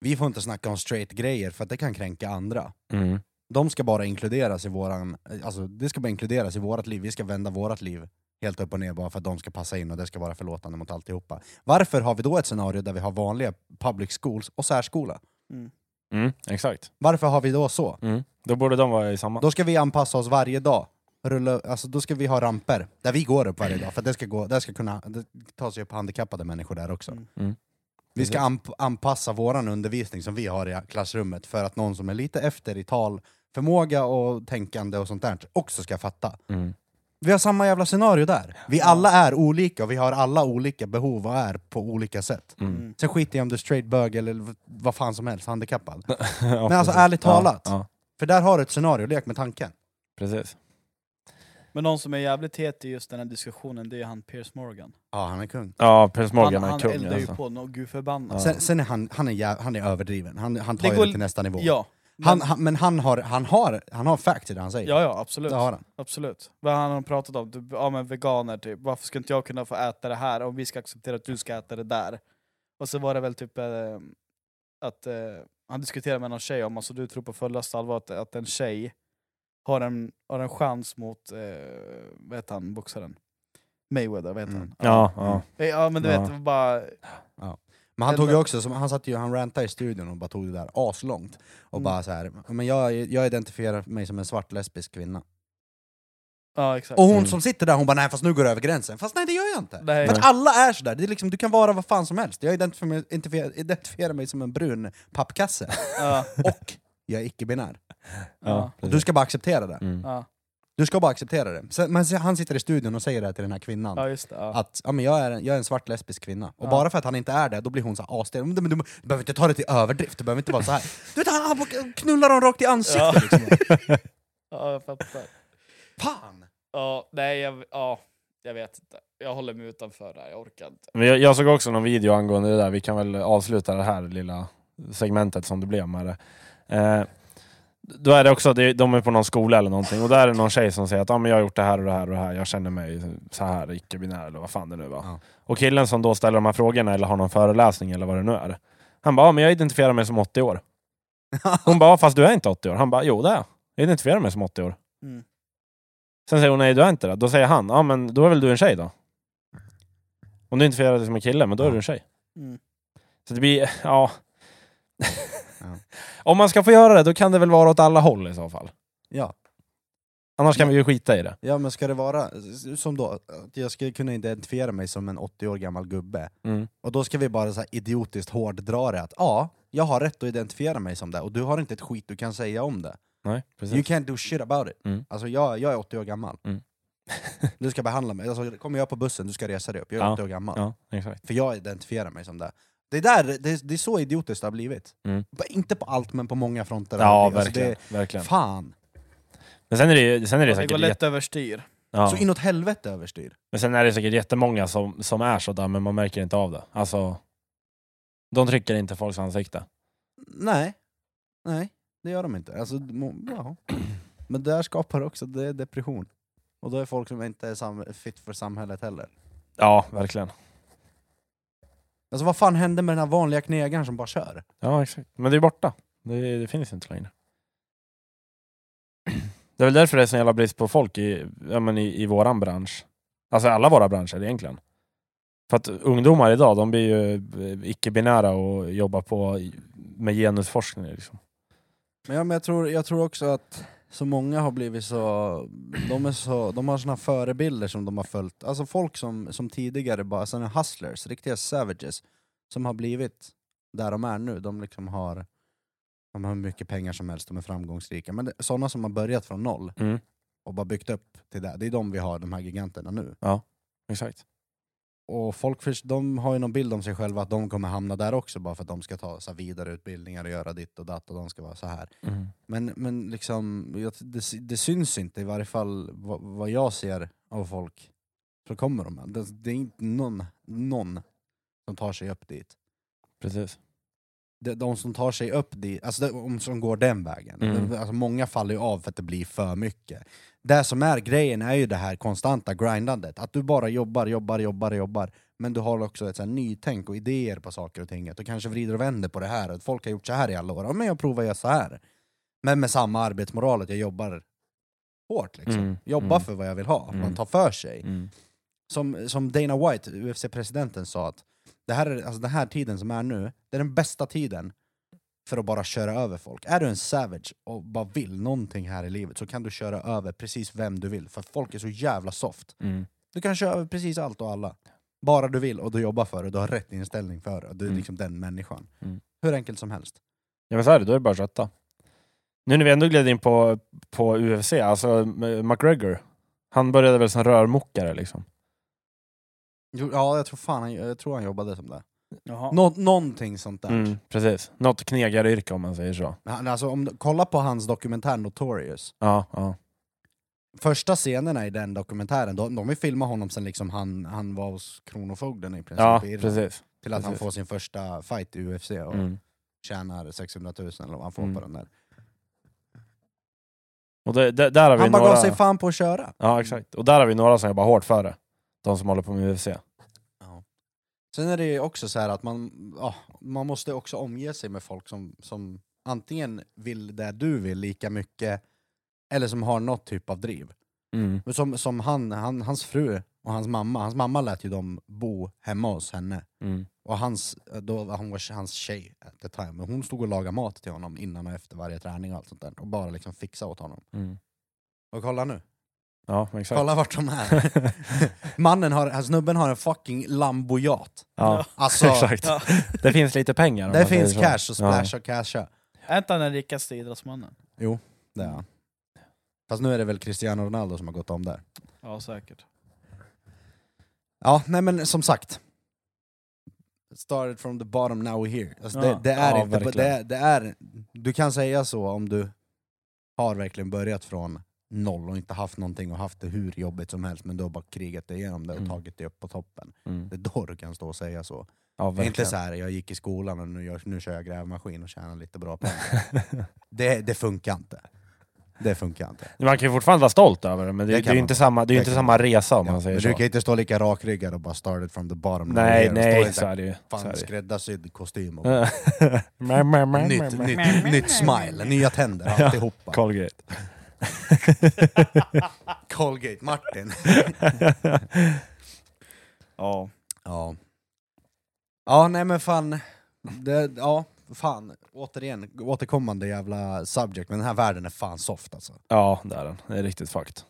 Speaker 2: vi får inte snacka om straight grejer för att det kan kränka andra.
Speaker 1: Mm.
Speaker 2: De ska bara inkluderas i våran, alltså det ska bara inkluderas i vårat liv, vi ska vända vårat liv helt upp och ner bara för att de ska passa in och det ska vara förlåtande mot alltihopa. Varför har vi då ett scenario där vi har vanliga public schools och särskola?
Speaker 1: Mm, exakt.
Speaker 2: Varför har vi då så?
Speaker 1: Mm. Då borde de vara i samma.
Speaker 2: Då ska vi anpassa oss varje dag. Rulla, alltså då ska vi ha ramper där vi går upp varje dag för att det ska, gå, det ska kunna det ta sig upp handikappade människor där också.
Speaker 3: Mm.
Speaker 1: Mm.
Speaker 2: Vi ska anp anpassa våran undervisning som vi har i klassrummet för att någon som är lite efter i talförmåga och tänkande och sånt där också ska fatta.
Speaker 1: Mm.
Speaker 2: Vi har samma jävla scenario där. Vi alla är olika och vi har alla olika behov och är på olika sätt.
Speaker 1: Mm.
Speaker 2: Sen skiter jag om du är straight bög eller v- vad fan som helst, handikappad.
Speaker 1: Ja,
Speaker 2: Men alltså
Speaker 1: precis.
Speaker 2: ärligt talat.
Speaker 1: Ja, ja,
Speaker 2: För där har du ett scenario, lek med tanken.
Speaker 1: precis.
Speaker 3: Men någon som är jävligt het i just den här diskussionen, det är han Piers Morgan.
Speaker 2: Ja, han är kung.
Speaker 1: Ja, Piers Morgan
Speaker 3: han
Speaker 1: är
Speaker 3: han
Speaker 1: kung
Speaker 3: eldar ju
Speaker 1: alltså.
Speaker 3: på något gudförbannat.
Speaker 2: Sen, sen är han, han, är, jä- han är överdriven, han, han tar
Speaker 3: Det
Speaker 2: ju
Speaker 3: går-
Speaker 2: det till nästa nivå.
Speaker 3: Ja.
Speaker 2: han,
Speaker 3: men,
Speaker 2: han, men han har, han har, han har facts i det han säger.
Speaker 3: ja, ja absolut.
Speaker 2: Det har han.
Speaker 3: absolut. Vad han har pratat om, du, ja men veganer typ, varför ska inte jag kunna få äta det här om vi ska acceptera att du ska äta det där? Och så var det väl typ eh, att eh, han diskuterade med någon tjej om, alltså du tror på fullaste allvar att, att en tjej har en, har en chans mot, eh, vad heter han, boxaren? Mayweather, vad heter
Speaker 2: Mm.
Speaker 3: han?
Speaker 1: Ja, ja.
Speaker 3: Eh, Ja men du
Speaker 1: Ja.
Speaker 3: vet, det var bara...
Speaker 2: Men han
Speaker 3: Eller-
Speaker 2: tog ju också, som- han satt ju, han rantade i studion och bara tog det där aslångt. Och
Speaker 3: Mm.
Speaker 2: bara så här, men jag, jag identifierar mig som en svart lesbisk kvinna.
Speaker 3: Mm. Ja exakt.
Speaker 2: Och hon
Speaker 1: Mm.
Speaker 2: som sitter där, hon bara nej fast nu går det över gränsen. Fast nej det gör jag inte.
Speaker 3: Nej.
Speaker 2: För att alla är sådär, det är liksom, du kan vara vad fan som helst. Jag identifierar mig, identifierar, identifierar mig som en brun pappkasse.
Speaker 3: Ja,
Speaker 2: Och jag är icke-binär.
Speaker 1: ja
Speaker 3: Ja.
Speaker 2: Och
Speaker 1: precis.
Speaker 2: du ska bara acceptera det.
Speaker 1: Mm.
Speaker 3: ja,
Speaker 2: Du ska bara acceptera det. Sen- Men se- han sitter i studion och säger det här till den här kvinnan.
Speaker 3: ja just det. Ja.
Speaker 2: Att ja, men jag, är en, jag är en svart lesbisk kvinna, och
Speaker 3: Ja.
Speaker 2: bara för att han inte är det, då blir hon så här asstel. Men du, du, du behöver inte ta det till överdrift, du behöver inte vara så här. Du vet, han, han knullar dem rakt i ansiktet
Speaker 3: Ja.
Speaker 2: liksom.
Speaker 3: ja jag fattar.
Speaker 2: Fan!
Speaker 3: Ja, nej jag, ja, jag vet inte. Jag håller mig utanför där, jag orkar inte.
Speaker 1: Men jag, jag såg också någon video angående det där, vi kan väl avsluta det här lilla segmentet som det blev med det. Eh, då är det också, det, de är på någon skola eller någonting och där är det någon tjej som säger att ah, men jag har gjort det här och det här och det här, jag känner mig så här icke-binär eller vad fan det nu var.
Speaker 2: Ja.
Speaker 1: Och killen som då ställer de här frågorna eller har någon föreläsning eller vad det nu är, han bara ah, men jag identifierar mig som 80 år. Hon bara ah, fast du är inte 80 år. Han bara jo det är jag. jag, identifierar mig som 80 år.
Speaker 3: Mm.
Speaker 1: Sen säger hon nej du är inte det. Då säger han, ja ah, men då är väl du en tjej då? Om du identifierar dig som en kille, men då är du en tjej.
Speaker 3: Mm.
Speaker 1: Så det blir, ja.
Speaker 2: Ja.
Speaker 1: Om man ska få göra det, då kan det väl vara åt alla håll i så fall.
Speaker 2: Ja.
Speaker 1: Annars kan vi ju skita i det.
Speaker 2: ja, men ska det vara s- som då, att jag skulle kunna identifiera mig som en 80 år gammal gubbe,
Speaker 1: Mm.
Speaker 2: och då ska vi bara så här idiotiskt hårddra det att ja, jag har rätt att identifiera mig som det, och du har inte ett skit du kan säga om det.
Speaker 1: Nej, precis.
Speaker 2: You can't do shit about it.
Speaker 1: Mm.
Speaker 2: Alltså jag, jag är 80 år gammal.
Speaker 1: Mm.
Speaker 2: du ska behandla mig, alltså, kommer jag på bussen, du ska resa dig upp, jag är
Speaker 1: Ja.
Speaker 2: 80 år gammal.
Speaker 1: Ja, exakt.
Speaker 2: För jag identifierar mig som det. Det är, där, det, är- det är så idiotiskt det har blivit.
Speaker 1: Mm.
Speaker 2: B- Inte på allt, men på många fronter.
Speaker 1: Ja,
Speaker 2: Alltså,
Speaker 1: verkligen.
Speaker 2: Det,
Speaker 1: verkligen.
Speaker 2: fan!
Speaker 1: Men sen är det, ju- sen är det,
Speaker 3: Det
Speaker 1: säkert
Speaker 3: går
Speaker 1: jätte-
Speaker 3: lätt överstyr.
Speaker 1: ja.
Speaker 2: Så inåt helvete överstyr.
Speaker 1: Men sen är det säkert jättemånga som, som är sådär, men man märker inte av det. Alltså, de trycker inte folks ansikte.
Speaker 2: Nej. Nej, det gör de inte. Alltså, må- ja. Men där skapar det också det är depression. Och då är folk som inte är sam- fit för samhället heller.
Speaker 1: Ja, verkligen.
Speaker 2: Alltså vad fan hände med den här vanliga knegaren som bara kör?
Speaker 1: Ja, exakt. Men det är borta. Det, det finns inte längre. Det är väl därför det är sån jävla brist på folk i, ja, men i, i våran bransch. Alltså alla våra branscher egentligen. För att ungdomar idag, de blir ju eh, icke-binära och jobbar på i- med genusforskning. Liksom.
Speaker 2: Men, ja, men jag, tror, jag tror också att så många har blivit så... De, är så, de har såna förebilder som de har följt. Alltså folk som, som tidigare bara, alltså såna hustlers, riktiga savages, som har blivit där de är nu. De liksom har de har hur mycket pengar som helst, de är framgångsrika. Men det, såna som har börjat från noll
Speaker 1: Mm.
Speaker 2: och bara byggt upp till det, det är de vi har, de här giganterna nu.
Speaker 1: Exakt.
Speaker 2: Och folk förs- de har ju någon bild om sig själva att de kommer hamna där också bara för att de ska ta så här, vidare utbildningar och göra ditt och datt och de ska vara så här.
Speaker 1: Mm.
Speaker 2: Men, men liksom, jag, det, sy- det syns inte, i varje fall vad, vad jag ser av folk, så kommer de. här. Det, det är inte någon, någon som tar sig upp dit.
Speaker 1: Precis.
Speaker 2: de, de som tar sig upp dit, alltså de som går den vägen,
Speaker 1: Mm.
Speaker 2: alltså många faller ju av för att det blir för mycket. Det som är grejen är ju det här konstanta grindandet, att du bara jobbar, jobbar, jobbar, jobbar, men du har också ett så här nytänk och idéer på saker och ting. Att du kanske vrider och vänder på det här, att folk har gjort så här i alla år, ja, men jag provar att göra så här. Men med samma arbetsmoral, att jag jobbar hårt liksom.
Speaker 1: Mm.
Speaker 2: Jobbar
Speaker 1: Mm.
Speaker 2: för vad jag vill ha, man
Speaker 1: Mm.
Speaker 2: tar för sig
Speaker 1: Mm.
Speaker 2: som, som Dana White, UFC-presidenten, sa att det här är, alltså, den här tiden som är nu, det är den bästa tiden för att bara köra över folk. Är du en savage och bara vill någonting här i livet så kan du köra över precis vem du vill, för folk är så jävla soft.
Speaker 1: Mm.
Speaker 2: Du kan köra över precis allt och alla. Bara du vill och du jobbar för det, du har rätt inställning för det, och du är
Speaker 1: Mm.
Speaker 2: liksom den människan.
Speaker 1: Mm.
Speaker 2: Hur enkelt som helst.
Speaker 1: Ja men så är det, då är det bara att kötta. Nu när vi ändå gled in på, på UFC, alltså eh, McGregor. Han började väl som rörmokare liksom.
Speaker 2: Jo, Ja, jag tror fan han, jag tror han jobbade som det.
Speaker 3: Jaha.
Speaker 2: Nå, någonting sånt där.
Speaker 1: Mm, precis. Något knegaryrke om man säger så.
Speaker 2: Men Han, alltså, om, du- kolla på hans dokumentär Notorious.
Speaker 1: Ja, ja.
Speaker 2: första scenerna i den dokumentären, de, de vill filma honom sen liksom han, han var hos Kronofogden i princip,
Speaker 1: ja
Speaker 2: i Irland,
Speaker 1: precis.
Speaker 2: till att han
Speaker 1: precis.
Speaker 2: får sin första fight i UFC och
Speaker 1: Mm.
Speaker 2: tjänar 600 000 eller vad han får
Speaker 1: Mm.
Speaker 2: på den där.
Speaker 1: Och det, det, där har vi
Speaker 2: Han bara
Speaker 1: några...
Speaker 2: gav sig fan på att köra.
Speaker 1: Ja, exakt. Och där har vi några som jobbar hårt för det. De som håller på med UFC.
Speaker 2: Sen är det ju också så här att man, ja, man måste också omge sig med folk som, som antingen vill det du vill lika mycket, eller som har något typ av driv.
Speaker 1: Mm.
Speaker 2: Men Som, som han, han, hans fru och hans mamma, hans mamma lät ju dem bo hemma hos henne.
Speaker 1: Mm.
Speaker 2: Och hans, då var hon var hans tjej at the time, men hon stod och lagade mat till honom innan och efter varje träning och allt sånt där. Och bara liksom fixade åt honom.
Speaker 1: Mm.
Speaker 2: Och kolla nu,
Speaker 1: Ja, exakt.
Speaker 2: kolla vart de är. Mannen har, alltså snubben har en fucking lambojat.
Speaker 1: Ja,
Speaker 2: Alltså,
Speaker 1: exakt.
Speaker 3: Ja.
Speaker 1: Det finns lite pengar om
Speaker 2: det
Speaker 1: man säger
Speaker 2: finns
Speaker 1: så.
Speaker 2: cash och splash och casha.
Speaker 3: Är inte han den rikaste idrottsmannen?
Speaker 2: Det är han. Fast nu är det väl Cristiano Ronaldo som har gått om där.
Speaker 3: Ja säkert.
Speaker 2: Ja, nej men som sagt. Started from the bottom, now we're here. Alltså det,
Speaker 3: Ja.
Speaker 2: det är
Speaker 1: Ja,
Speaker 2: inte,
Speaker 1: verkligen.
Speaker 2: det, det är, du kan säga så om du har verkligen börjat från noll och inte haft någonting och haft det hur jobbigt som helst men du har bara krigat dig igenom det och
Speaker 1: Mm.
Speaker 2: tagit dig upp på toppen.
Speaker 1: Ja. Mm.
Speaker 2: Det är då du kan stå och säga så.
Speaker 1: Ja,
Speaker 2: Det är inte
Speaker 1: verkligen.
Speaker 2: så här, jag gick i skolan och nu, gör- nu kör jag grävmaskin och tjänar lite bra pengar. det, det funkar inte. Det funkar inte.
Speaker 1: Man kan ju fortfarande vara stolt över det, men det,
Speaker 2: Det
Speaker 1: det,
Speaker 2: kan
Speaker 1: är ju
Speaker 2: man.
Speaker 1: inte samma, det är
Speaker 2: Det
Speaker 1: ju inte
Speaker 2: kan
Speaker 1: samma resa om
Speaker 2: Ja,
Speaker 1: man
Speaker 2: men
Speaker 1: säger
Speaker 2: du
Speaker 1: så.
Speaker 2: kan inte stå lika rakryggad och bara started from the bottom. now
Speaker 1: Nej,
Speaker 2: we're here och stå i
Speaker 1: nej, så
Speaker 2: så här
Speaker 1: är det ju. Så Eh, är
Speaker 2: Fan,
Speaker 1: det ju.
Speaker 2: skräddarsydd kostym och
Speaker 1: Mä, mä, mä,
Speaker 2: nytt,
Speaker 1: mä, mä.
Speaker 2: nytt, nytt smile, nya tänder, alltihopa.
Speaker 1: Colgate.
Speaker 2: Colgate Martin.
Speaker 3: Ja.
Speaker 2: Ja. Ja, nej men fan. Det, ja, fan. Återigen, återkommande jävla subject, men den här världen är fan soft alltså.
Speaker 1: Ja, det är den. Det är riktigt fucked.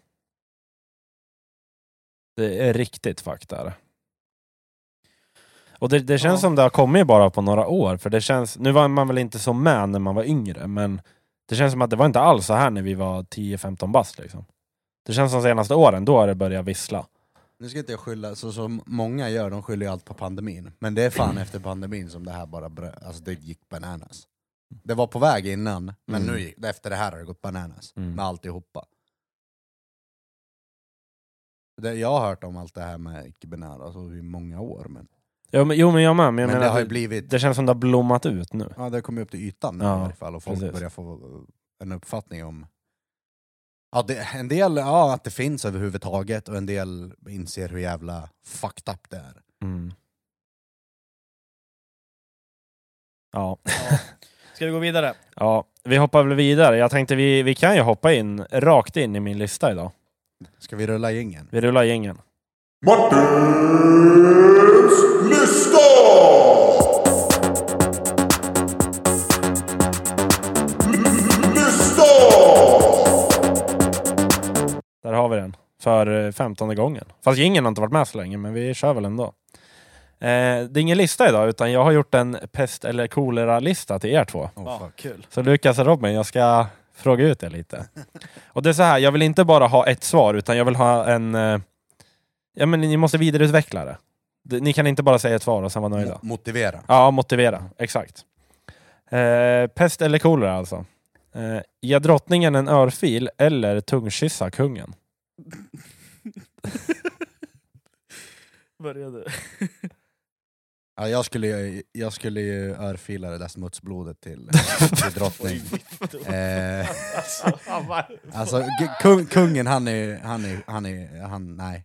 Speaker 1: Det är riktigt fucked är det. Och det, det känns
Speaker 2: Ja.
Speaker 1: som det har kommit bara på några år, för det känns, nu var man väl inte så med när man var yngre, men det känns som att det var inte alls så här när vi var 10-15 bast liksom. Det känns som senaste åren, då har det börjat vissla.
Speaker 2: Nu ska inte jag skylla, så som många gör, de skyller ju allt på pandemin. Men det är fan efter pandemin som det här bara brö, alltså det gick bananas. Det var på väg innan, men
Speaker 1: Mm.
Speaker 2: nu gick, efter det här har det gått bananas.
Speaker 1: Mm.
Speaker 2: Med alltihopa. Det, jag har hört om allt det här med icke-binära alltså, i många år, men,
Speaker 1: Jo men, jo, men jag med, men jag
Speaker 2: men,
Speaker 1: menar,
Speaker 2: det har
Speaker 1: det,
Speaker 2: ju blivit...
Speaker 1: det känns som det har blommat ut nu.
Speaker 2: ja, det har kommit upp till ytan nu
Speaker 1: Ja,
Speaker 2: i alla fall, och folk
Speaker 1: precis.
Speaker 2: börjar få eh, en uppfattning om... Ja, det, en del, ja, att det finns överhuvudtaget, och en del inser hur jävla fucked up det är.
Speaker 1: Mm. Ja.
Speaker 3: ja. Ska vi gå vidare?
Speaker 1: ja, vi hoppar väl vidare. Jag tänkte vi, vi kan ju hoppa in rakt in i min lista idag.
Speaker 2: Ska vi rulla gängen?
Speaker 1: Vi rullar gängen.
Speaker 4: Martins lista! Lista!
Speaker 1: Där har vi den. För eh, femtonde gången. Fast ingen har inte varit med så länge, men vi kör väl ändå. Eh, det är ingen lista idag, utan jag har gjort en pest eller kolera-lista till er två.
Speaker 2: Oh,
Speaker 3: Ja,
Speaker 2: fuck.
Speaker 3: kul.
Speaker 1: Så Lukas och Robin, jag ska fråga ut er lite. Och det är så här, jag vill inte bara ha ett svar, utan jag vill ha en... Eh, ja, men ni måste vidareutveckla det. Det- Ni kan inte bara säga ett svar och sen vara nöjda.
Speaker 2: Mo- Motivera.
Speaker 1: Ja, motivera. Exakt. Eh, pest eller kolera alltså. Eh, ge drottningen en örfil eller tungkyssa kungen.
Speaker 3: Börja du.
Speaker 2: Ja, jag, skulle, ju- jag skulle ju örfila det där smutsblodet till, till drottning. eh, alltså, g- kung, kungen han är, han är, han är, han, nej.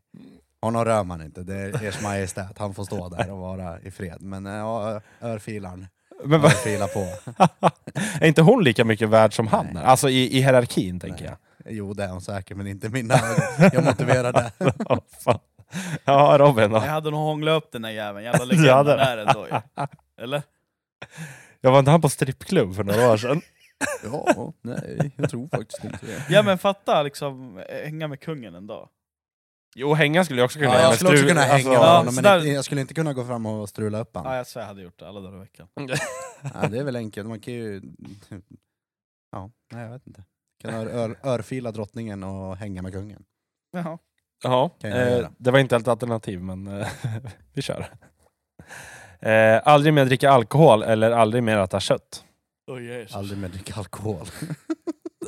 Speaker 2: Honom rör man inte, det är ers majestät, han får stå där och vara i fred. Men eh, ja, örfilaren,
Speaker 1: Men vad-
Speaker 2: örfila på.
Speaker 1: är inte hon lika mycket värd som han? är? Alltså i, i hierarkin, tänker jag.
Speaker 2: Jo det är hon säkert, men inte mina. Jag motiverar det.
Speaker 1: Ja, fan. ja, Robin
Speaker 3: Jag
Speaker 1: då.
Speaker 3: hade nog hånglat upp den där jäveln,
Speaker 1: Du
Speaker 3: jävla legenden
Speaker 1: hade det.
Speaker 3: där ändå ju. Eller?
Speaker 1: Jag var inte han på strippklubb för några år sedan?
Speaker 2: Ja, nej, jag tror faktiskt inte det.
Speaker 3: Ja men fatta liksom, eh, hänga med kungen en dag.
Speaker 1: Jo, hänga skulle jag också kunna
Speaker 2: Ja,
Speaker 1: göra,
Speaker 2: jag
Speaker 1: men
Speaker 2: skulle också
Speaker 1: stru-
Speaker 2: kunna hänga
Speaker 1: alltså-
Speaker 2: med
Speaker 3: Ja,
Speaker 2: honom, men
Speaker 3: sådär.
Speaker 2: inte- jag skulle inte kunna gå fram och strula upp honom.
Speaker 3: Ja jag svär jag hade gjort det alla dagar i veckan.
Speaker 2: Ja, det är väl enkelt, man kan ju... Ja, nej jag vet inte. Kan ör, ör, örfila drottningen och hänga med kungen.
Speaker 3: Jaha.
Speaker 1: Ja,
Speaker 2: Kan jag
Speaker 1: eh,
Speaker 2: göra.
Speaker 1: det var inte helt alternativ, men eh, vi kör. Eh, aldrig mer dricka alkohol eller aldrig mer äta kött.
Speaker 3: Oh, Jesus.
Speaker 2: Aldrig mer dricka alkohol.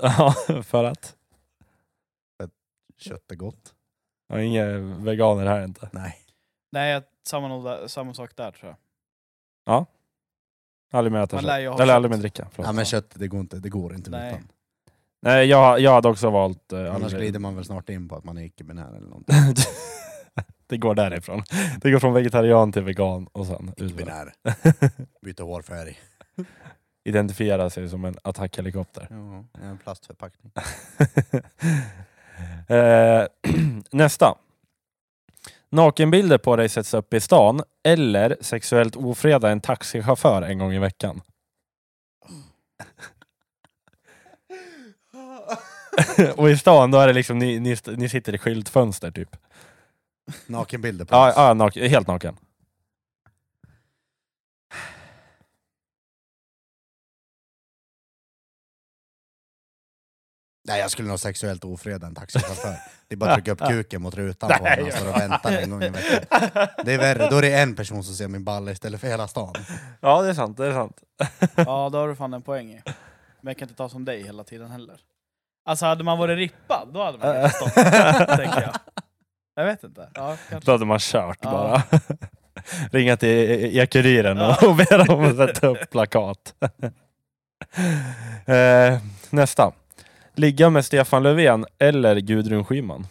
Speaker 1: Ja, för att?
Speaker 2: Kött är gott.
Speaker 1: Jag är inga veganer här inte.
Speaker 2: Nej.
Speaker 3: Nej, jag- samma, nog där- samma sak där tror jag.
Speaker 1: Aldrig mer äta
Speaker 3: Man
Speaker 1: kött.
Speaker 3: lär ju ha
Speaker 1: Eller
Speaker 3: kött.
Speaker 1: aldrig mer dricka. Förlåt.
Speaker 2: Ja men kött, det går inte, det går inte
Speaker 3: Nej.
Speaker 2: utan.
Speaker 1: Nej, jag, jag hade också valt... Eh,
Speaker 2: Annars
Speaker 1: aldrig...
Speaker 2: glider man väl snart in på att man är icke-binär eller någonting.
Speaker 1: det går därifrån. Det går från vegetarian till vegan och sen ut.
Speaker 2: Icke-binär. Byta hårfärg.
Speaker 1: Identifiera sig som en attackhelikopter.
Speaker 2: Ja, en plastförpackning.
Speaker 1: eh, nästa. Nakenbilder på dig sätts upp i stan eller sexuellt ofreda en taxichaufför en gång i veckan. Och i stan då är det liksom ni, ni, ni sitter i skyltfönster typ.
Speaker 2: Nakenbilder på
Speaker 1: Ja,
Speaker 2: oss.
Speaker 1: ja nak- helt naken.
Speaker 2: Nej jag skulle nog sexuellt ofreda en taxichaufför. Det är bara att trycka upp kuken mot rutan på
Speaker 1: Nej,
Speaker 2: honom, han står och väntar en gång i veckan. Det är värre, då är det en person som ser min balle istället för hela stan.
Speaker 1: Ja det är sant, det är sant.
Speaker 3: Ja, då har du fan en poäng i. Men jag kan inte ta som dig hela tiden heller. Alltså hade man varit rippad, då hade man kanske stått, tänker jag. Jag vet inte. Ja, kanske.
Speaker 1: Då hade man kört
Speaker 3: Ja.
Speaker 1: bara. Ringa till Ekuriren och,
Speaker 3: Ja.
Speaker 1: och be dem att sätta upp plakat. eh, nästa. Ligga med Stefan Löfven eller Gudrun Schyman.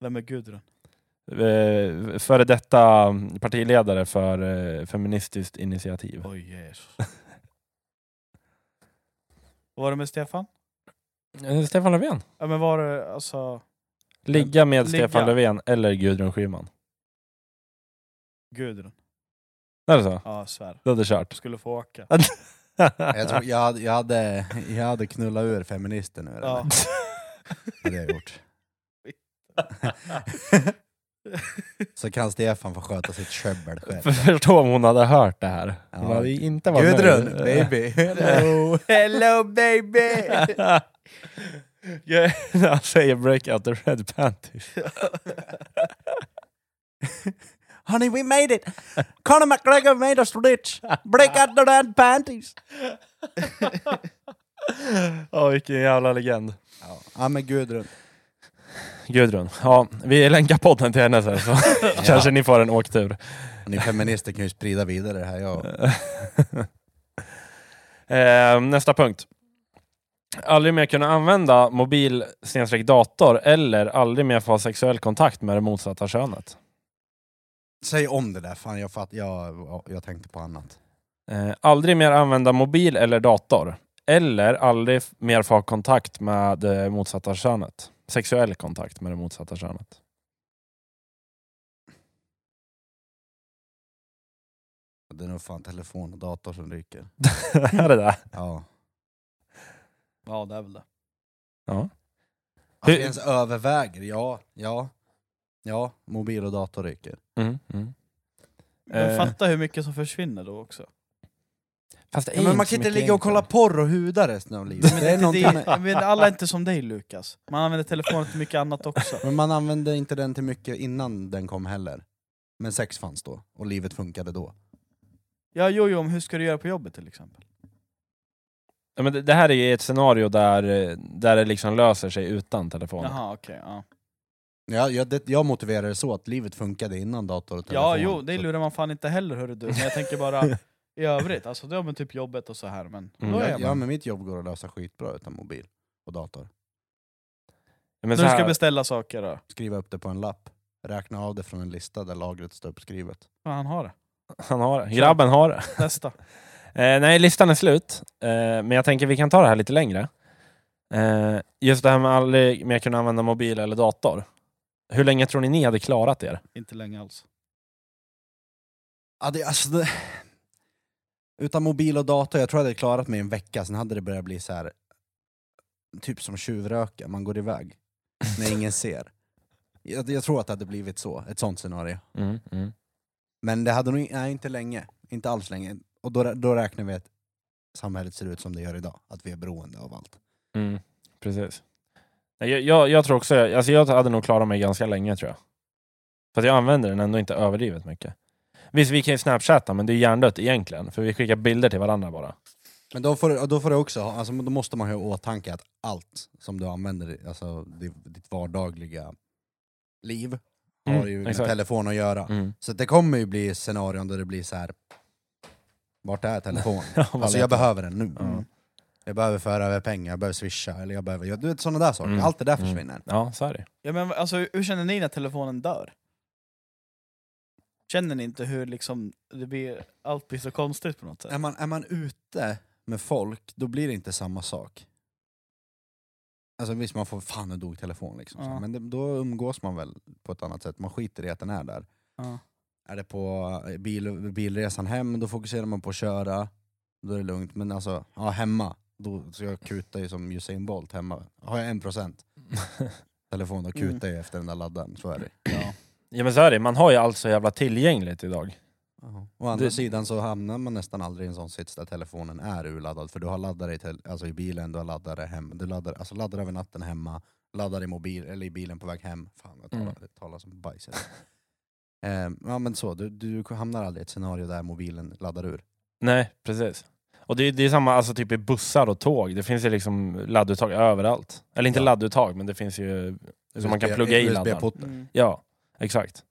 Speaker 3: Vem är Gudrun?
Speaker 1: Eh, före detta partiledare för eh, Feministiskt initiativ.
Speaker 3: Oj Jesus. Vad var det med Stefan?
Speaker 1: Eh, Stefan Löfven.
Speaker 3: Ja men var det alltså
Speaker 1: Ligga med
Speaker 3: Ligga.
Speaker 1: Stefan Löfven eller Gudrun Schyman.
Speaker 3: Gudrun?
Speaker 1: Är det så?
Speaker 3: Ja, jag svär.
Speaker 1: Du hade kört.
Speaker 3: Du skulle få åka.
Speaker 2: Jag, tror, jag, hade- jag, hade, jag hade knullat ur feministen ur
Speaker 3: Ja.
Speaker 2: henne. hade jag gjort. Så kan Stefan få sköta sitt köbbel själv.
Speaker 1: Förstå om hon hade hört det här. Hon
Speaker 2: Ja.
Speaker 1: hade ju inte varit
Speaker 2: Gudrun,
Speaker 1: nöjd.
Speaker 2: baby, hello!
Speaker 3: Hello baby!
Speaker 1: Ja, när Han säger break out the red panties.
Speaker 2: Honey we made it! Conor McGregor made us rich! Break out the red panties!
Speaker 1: Ja, vilken jävla legend.
Speaker 2: Ja, ja men Gudrun.
Speaker 1: Gudrun. Ja, vi länkar podden till henne sen så kanske ni får en åktur.
Speaker 2: Ni feminister kan ju sprida vidare det här. Jag,
Speaker 1: eh, nästa punkt. Aldrig mer kunna använda mobil snedstreck dator eller aldrig mer få ha sexuell kontakt med det motsatta könet.
Speaker 2: säg om det där, fan jag, fatt, jag, jag tänkte på annat.
Speaker 1: Eh, aldrig mer använda mobil eller dator. Eller aldrig f- mer få ha kontakt med det motsatta könet. Sexuell kontakt med det motsatta könet.
Speaker 2: Det är nog fan telefon och dator som ryker.
Speaker 1: är det där?
Speaker 2: Ja.
Speaker 3: Ja det är väl det.
Speaker 1: Ja.
Speaker 2: Att
Speaker 1: Hur-
Speaker 2: vi ens överväger, ja, ja. Ja, mobil och dator ryker.
Speaker 1: Mm, mm.
Speaker 3: Men
Speaker 1: Eh.
Speaker 3: fatta hur mycket som försvinner då också.
Speaker 1: Fast det är
Speaker 2: Ja, men man
Speaker 1: så
Speaker 2: kan inte
Speaker 1: mycket
Speaker 2: ligga och
Speaker 1: enklare.
Speaker 2: kolla porr och huda resten av livet.
Speaker 3: Men,
Speaker 2: Det är någonting
Speaker 3: det,
Speaker 2: med,
Speaker 3: men alla är inte som dig Lukas. Man använder telefonen till mycket annat också.
Speaker 2: men man använde inte den till mycket innan den kom heller. Men sex fanns då, och livet funkade då.
Speaker 3: Ja, jo, jo, men hur ska du göra på jobbet till exempel?
Speaker 1: Ja, men det, det här är ju ett scenario där, eh, där det liksom löser sig utan telefon.
Speaker 3: Jaha, okej. ja.
Speaker 2: Ja, jag, det, jag motiverar det så att livet funkade innan dator och
Speaker 3: Ja,
Speaker 2: telefon.
Speaker 3: jo, det
Speaker 2: Så-
Speaker 3: lurar man fan inte heller hörru du. Men jag tänker bara i övrigt, alltså det har med typ jobbet och så här. Men
Speaker 1: Mm.
Speaker 3: då är
Speaker 2: Ja,
Speaker 3: man.
Speaker 2: ja, men mitt jobb går att lösa skitbra utan mobil och dator.
Speaker 1: Men
Speaker 3: När
Speaker 1: så
Speaker 3: du ska
Speaker 1: här,
Speaker 3: beställa saker då.
Speaker 2: Skriva upp det på en lapp, räkna av det från en lista där lagret står uppskrivet.
Speaker 3: Ja, han har det.
Speaker 1: han har det. Grabben har det.
Speaker 3: Nästa.
Speaker 1: Eh, nej, listan är slut. Eh, men jag tänker vi kan ta det här lite längre. Eh, just det här med aldrig mer kunna använda mobil eller dator. Hur länge tror ni ni hade klarat er?
Speaker 3: Inte länge alls.
Speaker 2: Ja, det, alltså det... Utan mobil och dator, jag tror jag hade klarat mig en vecka, sen hade det börjat bli så här. typ som tjuvröka, man går iväg när ingen ser. Jag, jag tror att det hade blivit så, ett sånt scenario.
Speaker 1: Mm, mm.
Speaker 2: Men det hade nog in- nej, inte länge, inte alls länge. Och då, rä- då räknar vi att samhället ser ut som det gör idag, att vi är beroende av allt.
Speaker 1: Mm, precis. Nej, Jag, jag, jag tror också, alltså jag hade nog klarat mig ganska länge tror jag. För att jag använder den ändå inte överdrivet mycket. Visst, vi kan ju snapchatta, men det är ju hjärndött egentligen. För vi skickar bilder till varandra bara.
Speaker 2: Men då får, du- då får du också, ha- alltså, då måste man ha i åtanke att allt som du använder, alltså ditt, ditt vardagliga liv,
Speaker 1: Mm,
Speaker 2: har ju med
Speaker 1: exakt.
Speaker 2: telefon att göra.
Speaker 1: Mm.
Speaker 2: Så det kommer ju bli scenarion där det blir så här. vart är telefonen? alltså jag behöver den nu.
Speaker 1: Ja.
Speaker 2: Jag behöver föra över pengar, jag behöver swisha, eller jag behöver, jag- du vet sådana där saker.
Speaker 1: Mm.
Speaker 2: Allt det där
Speaker 1: Mm.
Speaker 2: försvinner.
Speaker 1: Ja, så är det.
Speaker 3: Ja, men alltså, hur känner ni när telefonen dör? Känner ni inte hur liksom, det blir, allt blir så konstigt på något sätt?
Speaker 2: Är, man, är man ute med folk, då blir det inte samma sak. Alltså visst, man får fan en dog telefon liksom. så.
Speaker 3: Ja.
Speaker 2: Men det, då umgås man väl på ett annat sätt. Man skiter i att den är där.
Speaker 3: Ja.
Speaker 2: Är det på eh, bil, bilresan hem, då fokuserar man på att köra. Då är det lugnt. Men alltså, ja, hemma, då, så jag kutar ju som Usain Bolt hemma. Har jag en procent telefon, då kutar jag ju efter den där laddaren. Så är det.
Speaker 3: Ja.
Speaker 1: Ja, men så är det. Man har ju allt så jävla tillgängligt idag.
Speaker 2: Å andra
Speaker 1: Det-
Speaker 2: sidan så hamnar man nästan aldrig i en sån sits där telefonen är urladdad, för du har laddare i, tel- alltså i bilen, du har laddare hem, du laddar, alltså laddar över natten hemma, laddar i mobil, eller i bilen på väg hem. Fan, jag talar,
Speaker 1: Mm.
Speaker 2: jag talar som bajs. Ehm, ja men så, du, du hamnar aldrig i ett scenario där mobilen laddar ur.
Speaker 1: Nej, precis. Och det är, det är samma alltså, typ i bussar och tåg. Det finns ju liksom ladduttag överallt. Eller inte
Speaker 2: Ja.
Speaker 1: ladduttag, men det finns ju... Så man kan
Speaker 2: USB
Speaker 1: plugga i laddaren.
Speaker 2: USB-portar.
Speaker 3: Mm.
Speaker 1: Ja, exakt.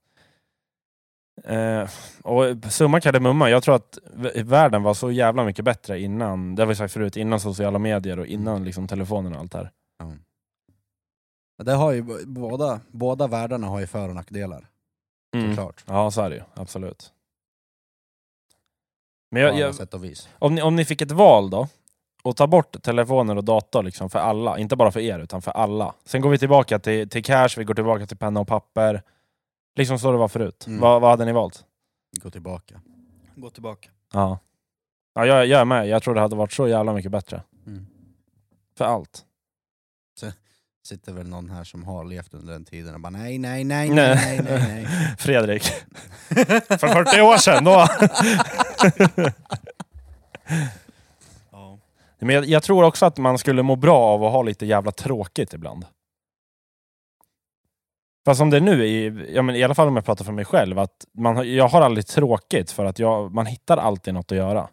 Speaker 1: Eh, och summa kardemumma, jag tror att v- världen var så jävla mycket bättre innan, det har vi sagt förut, innan sociala medier och innan
Speaker 2: Mm.
Speaker 1: liksom telefonen och allt det här.
Speaker 2: Ja. Det har ju, b- båda, båda världarna har ju för och nackdelar,
Speaker 1: Mm.
Speaker 2: såklart.
Speaker 1: Ja, så är det ju. Absolut. Men
Speaker 2: På
Speaker 1: jag,
Speaker 2: alla
Speaker 1: jag,
Speaker 2: sätt och vis.
Speaker 1: om, ni, om ni fick ett val då, och ta bort telefoner och dator liksom för alla, inte bara för er utan för alla. Sen går vi tillbaka till, till cash, vi går tillbaka till penna och papper. Liksom så det var förut.
Speaker 2: Mm.
Speaker 1: Vad, vad hade ni valt?
Speaker 2: Gå tillbaka.
Speaker 3: Gå tillbaka.
Speaker 1: Ja. ja jag, jag är med. Jag tror det hade varit så jävla mycket bättre.
Speaker 2: Mm.
Speaker 1: För allt.
Speaker 2: Sitter väl någon här som har levt under den tiden och bara nej, nej, nej, nej, nej, nej. nej.
Speaker 1: Fredrik. För 40 år sedan då.
Speaker 3: Ja.
Speaker 1: Men jag, jag tror också att man skulle må bra av att ha lite jävla tråkigt ibland. Fast som det är nu, i, ja, men i alla fall om jag pratar för mig själv, att man, har- jag har aldrig tråkigt för att jag, man hittar alltid något att göra.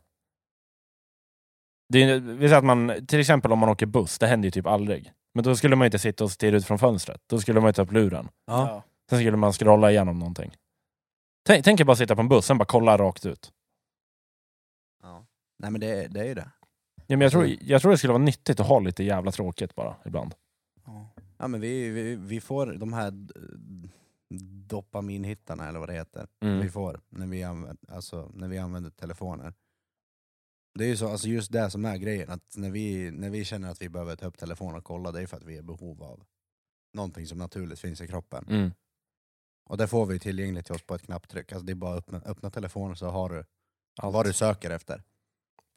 Speaker 1: Det är, vi säger att man, till exempel om man åker buss, det händer ju typ aldrig. Men då skulle man ju inte sitta och stirra ut från fönstret. Då skulle man ju ta upp luren.
Speaker 2: Ja.
Speaker 1: Sen skulle man scrolla igenom någonting. Tänk, tänk er bara sitta på en buss, sen bara kolla rakt ut.
Speaker 2: Nej men det, det är ju det.
Speaker 1: Ja, men jag, tror, jag tror det skulle vara nyttigt att ha lite jävla tråkigt bara ibland.
Speaker 3: Ja.
Speaker 2: Ja, men vi, vi, vi får de här d- dopaminhittarna, eller vad det heter,
Speaker 1: Mm.
Speaker 2: vi får när vi, använder, alltså, när vi använder telefoner. Det är ju så, alltså just det som är grejen, att när vi, när vi känner att vi behöver ta upp telefonen och kolla, det är för att vi är i behov av någonting som naturligt finns i kroppen.
Speaker 1: Mm.
Speaker 2: Och det får vi tillgängligt till oss på ett knapptryck. Alltså det är bara att öppna, öppna telefonen så har du
Speaker 1: Allt.
Speaker 2: vad du söker efter.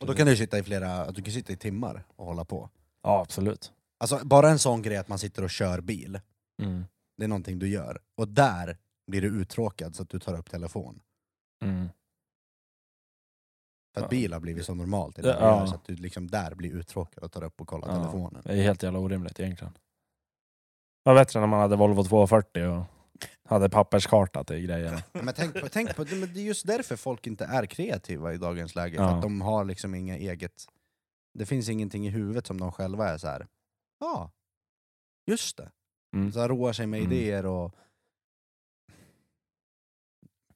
Speaker 2: Och då kan du sitta i flera, du kan sitta i timmar och hålla på.
Speaker 1: Ja, absolut.
Speaker 2: Alltså bara en sån grej att man sitter och kör bil.
Speaker 1: Mm.
Speaker 2: Det är någonting du gör. Och där blir du uttråkad så att du tar upp telefon.
Speaker 1: Mm.
Speaker 2: För att
Speaker 1: Ja.
Speaker 2: bil har blivit så normalt. i Det du
Speaker 1: Ja.
Speaker 2: gör, så att du liksom där blir uttråkad och tar upp och kollar
Speaker 1: Ja.
Speaker 2: telefonen.
Speaker 1: Det är helt jävla orimligt egentligen. Det var bättre när man hade Volvo 240 och hade papperskarta till grejerna.
Speaker 2: Men tänk på, tänk på men det är just därför folk inte är kreativa i dagens läge.
Speaker 1: Ja.
Speaker 2: För att de har liksom inga eget... Det finns ingenting i huvudet som de själva är så här. ja, just det.
Speaker 1: Mm.
Speaker 2: Så här roar sig med
Speaker 1: Mm.
Speaker 2: idéer och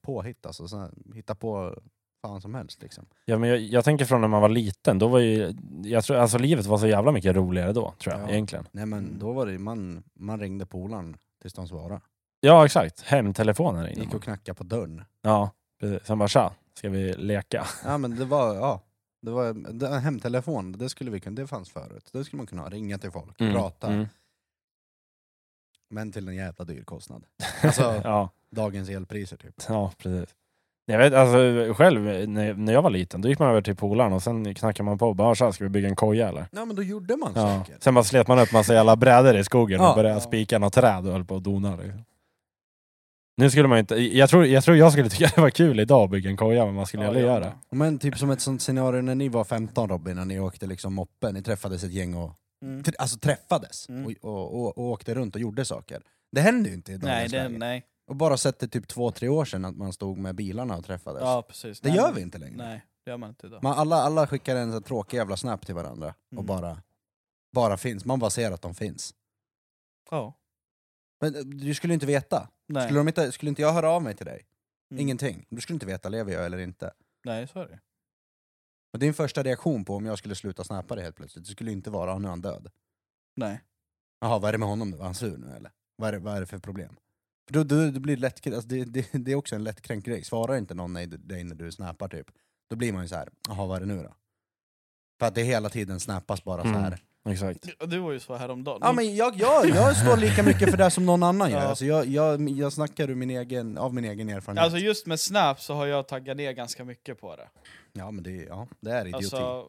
Speaker 2: påhitt alltså. Så här, hitta på fan som helst liksom.
Speaker 1: Ja, men jag, jag tänker från när man var liten, då var ju, jag tror, alltså livet var så jävla mycket roligare då, tror jag,
Speaker 2: Ja.
Speaker 1: egentligen.
Speaker 2: Nej men
Speaker 3: Mm.
Speaker 2: då var det man, man ringde polaren tills de svarade.
Speaker 1: Ja, exakt. Hemtelefonen ringde
Speaker 2: Gick
Speaker 1: man.
Speaker 2: och knackade på dörren.
Speaker 1: Ja, precis. Sen bara tja, ska vi leka?
Speaker 2: Ja men det var, ja. Det var det, hemtelefon, det, skulle vi, kunna- det fanns förut. Det skulle man kunna ha, ringa till folk, prata.
Speaker 1: Mm.
Speaker 2: Men till en jävla dyr kostnad. Alltså
Speaker 1: Ja,
Speaker 2: dagens elpriser typ.
Speaker 1: ja, precis. Jag vet, alltså, själv, när, när jag var liten, då gick man över till polaren och sen knackade man på och bara tja, ska vi bygga en koja eller?
Speaker 2: Ja men då gjorde man
Speaker 1: Ja.
Speaker 2: säkert.
Speaker 1: Sen bara slet man upp massa jävla brädor i skogen
Speaker 2: Ja.
Speaker 1: och började spika några träd och höll på och dona. Liksom. Nu skulle man ju inte, jag tror, jag tror jag skulle tycka det var kul idag att bygga en koja, men man skulle aldrig göra det.
Speaker 2: Men typ som ett sånt scenario när ni var 15 Robin, när ni åkte liksom moppe, ni träffades ett gäng och
Speaker 3: Mm.
Speaker 2: tr- alltså träffades
Speaker 3: Mm.
Speaker 2: och, och, och, och åkte runt och gjorde saker. Det händer ju inte i
Speaker 3: Nej,
Speaker 2: dagens
Speaker 3: det,
Speaker 2: läge.
Speaker 3: nej.
Speaker 2: Och bara sett det typ två, tre år sedan att man stod med bilarna och träffades.
Speaker 3: Ja, precis.
Speaker 2: det
Speaker 3: nej,
Speaker 2: gör
Speaker 3: men-
Speaker 2: vi inte längre.
Speaker 3: Nej, det gör man inte idag.
Speaker 2: Man, alla, alla skickar en sån här tråkig jävla snap till varandra och
Speaker 3: Mm.
Speaker 2: bara, bara finns. Man bara ser att de finns.
Speaker 3: Ja,
Speaker 2: Men eh, du skulle inte veta.
Speaker 3: nej.
Speaker 2: Skulle, de inte, skulle inte jag höra av mig till dig?
Speaker 3: Mm.
Speaker 2: Ingenting. Du skulle inte veta, lever jag eller inte?
Speaker 3: Nej, så är det.
Speaker 2: Och din första reaktion på om jag skulle sluta snappa det helt plötsligt, det skulle inte vara, "Ah, nu är han död.
Speaker 3: Nej.
Speaker 2: Jaha, vad är det med honom nu? Var han sur nu eller? Vad är det, vad är det för problem? För då, då, då blir det, lätt, alltså det, det, det är också en lättkränkt grej. Svarar inte någon nej- dig när du snappar typ, då blir man ju så här, jaha vad är det nu då? För att det hela tiden snappas bara så här.
Speaker 1: Mm. Exakt.
Speaker 3: Du- Du var ju så häromdagen.
Speaker 2: Ja, men jag, jag, jag står lika mycket för det som någon annan gör.
Speaker 3: Ja.
Speaker 2: Alltså jag, jag, jag snackar ur min egen, av min egen erfarenhet.
Speaker 3: Alltså just med Snap så har jag taggat ner ganska mycket på det.
Speaker 2: ja, men det, ja, det är idioti.
Speaker 3: Alltså,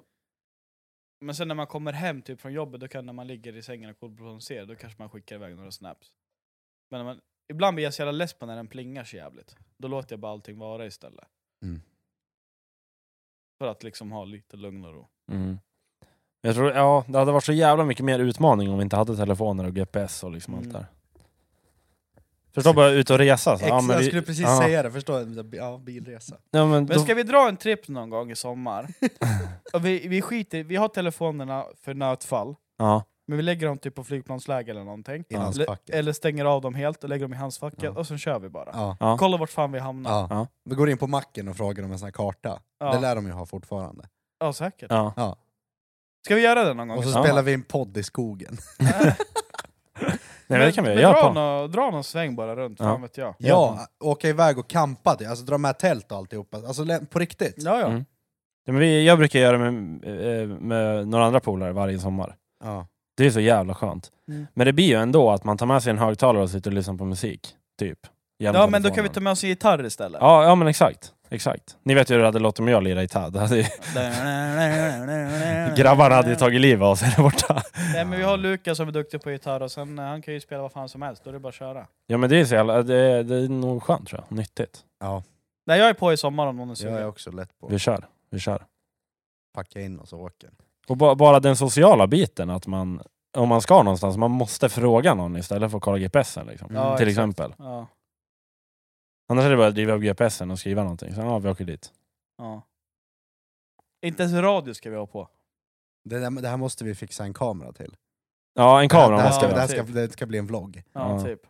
Speaker 3: men sen när man kommer hem typ från jobbet, då kan när man ligger i sängen och kollar på vad man ser, då kanske man skickar iväg några snaps. Men när man, ibland blir jag så jävla less på när den plingar så jävligt. Då låter jag bara allting vara istället.
Speaker 2: Mm.
Speaker 3: För att liksom ha lite lugn och ro.
Speaker 1: Mm. Jag tror, ja, det hade varit så jävla mycket mer utmaning om vi inte hade telefoner och GPS och liksom
Speaker 3: Mm.
Speaker 1: allt där. Förstå bara ut och resa. Så,
Speaker 2: Exakt,
Speaker 1: men
Speaker 2: jag
Speaker 1: vi-
Speaker 2: skulle precis
Speaker 1: Alltså, ja,
Speaker 2: säga det, förstå, ja, bilresa.
Speaker 1: Ja, men
Speaker 3: Men
Speaker 1: då,
Speaker 3: ska vi dra en trip någon gång i sommar? och vi, vi skiter vi har telefonerna för nödfall,
Speaker 1: ja,
Speaker 3: men vi lägger dem typ på flygplansläge eller någonting.
Speaker 2: I hans
Speaker 3: Eller-
Speaker 2: facket.
Speaker 3: Eller stänger av dem helt och lägger dem i handskfacket,
Speaker 2: Ja.
Speaker 3: och sen kör vi bara.
Speaker 2: Ja.
Speaker 1: ja.
Speaker 3: Kolla vart fan vi hamnar. Ja,
Speaker 2: Ja.
Speaker 1: Ja.
Speaker 2: Vi går in på macken och frågar om en sån här karta.
Speaker 3: ja.
Speaker 2: Det lär de ju ha fortfarande.
Speaker 3: säkert.
Speaker 1: ja.
Speaker 3: Ska vi göra det någon gång?
Speaker 2: Och så
Speaker 1: Ja.
Speaker 2: spelar vi en podd i skogen.
Speaker 1: Nej, men det kan vi
Speaker 3: Men
Speaker 1: göra.
Speaker 3: Dra,
Speaker 1: På.
Speaker 3: nå, dra någon sväng bara runt,
Speaker 1: Ja.
Speaker 3: fan vet jag.
Speaker 2: Ja, åka iväg och campa, det. alltså dra med tält och alltihopa. Alltså lä- på riktigt.
Speaker 3: Ja, ja.
Speaker 1: Mm. Ja, men vi, jag brukar göra det med, eh, med några andra polare varje sommar.
Speaker 2: Ja.
Speaker 1: Det är så jävla skönt.
Speaker 3: Mm.
Speaker 1: Men det blir ju ändå att man tar med sig en högtalare och sitter och lyssnar på musik. Typ. Genom
Speaker 3: ja men då kan vi
Speaker 1: telefonen.
Speaker 3: ta med oss en gitarr istället.
Speaker 1: Ja, ja men exakt. Exakt. Ni vet ju hur det hade låtit om jag lirade gitarr. Det hade ju- Grabbarna hade ju tagit livet av sig där borta.
Speaker 3: Nej men vi har Lukas som är duktig på gitarr och sen eh, han kan ju spela vad fan som helst, då är det bara att köra.
Speaker 1: Ja men det är, så jävla, det, är- det är nog skönt tror jag. Nyttigt.
Speaker 3: Nej jag är på i sommar om någon
Speaker 1: Alltså,
Speaker 3: är
Speaker 2: Jag är
Speaker 3: sugen.
Speaker 2: också lätt på
Speaker 1: Vi
Speaker 2: att
Speaker 1: kör. Vi kör.
Speaker 2: packa in och så åker.
Speaker 1: Och ba, bara den sociala biten att man, om man ska någonstans, man måste fråga någon istället för att kolla GPSen liksom.
Speaker 2: Ja,
Speaker 1: till
Speaker 3: exakt.
Speaker 1: exempel.
Speaker 3: Ja,
Speaker 1: Annars är det bara att driva upp GPSen och skriva någonting. Sen ja, vi åker dit.
Speaker 3: ja. Inte ens radio ska vi ha på.
Speaker 2: Det, där, det här måste vi fixa en kamera till.
Speaker 1: Ja, en
Speaker 2: det,
Speaker 1: kamera
Speaker 2: här
Speaker 1: måste
Speaker 2: ska,
Speaker 1: vi
Speaker 2: det,
Speaker 1: ha.
Speaker 2: här ska, det ska bli en vlogg.
Speaker 3: Ja,
Speaker 1: Ja.
Speaker 3: typ.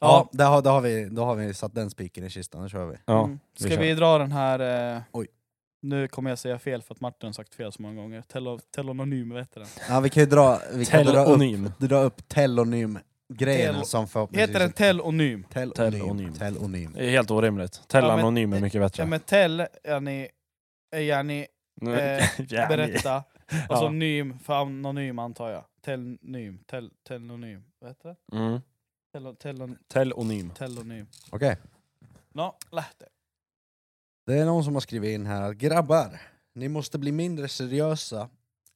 Speaker 2: Ja, där har, då, har vi, då har vi satt den spiken i kistan, nu kör vi.
Speaker 1: Ja.
Speaker 3: Mm.
Speaker 1: vi
Speaker 3: Ska
Speaker 1: kör.
Speaker 3: vi dra den här... Eh,
Speaker 2: Oj.
Speaker 3: Nu kommer jag säga fel för att Martin har sagt fel så många gånger. Telo, telonym, vet du den?
Speaker 2: Ja, vi kan ju dra, vi kan dra upp,
Speaker 1: Telonym.
Speaker 2: dra upp telonym-grejen
Speaker 3: Tel-
Speaker 2: som förhoppningsvis...
Speaker 3: Heter den telonym?
Speaker 2: telonym?
Speaker 1: Telonym.
Speaker 2: Telonym.
Speaker 1: Det är helt orimligt. Telanonym är mycket
Speaker 3: Ja
Speaker 1: bättre.
Speaker 3: men tel, är ni, är ni eh,
Speaker 1: Ja,
Speaker 3: berätta, och
Speaker 1: Ja.
Speaker 3: så nym för anonym antar jag. Telnym, tel, telonym, vad heter det?
Speaker 1: Mm.
Speaker 3: Telo, telon,
Speaker 1: Telonym.
Speaker 3: telonym.
Speaker 2: Okej.
Speaker 3: No, lätt det.
Speaker 2: Det är någon som har skrivit in här att grabbar, ni måste bli mindre seriösa,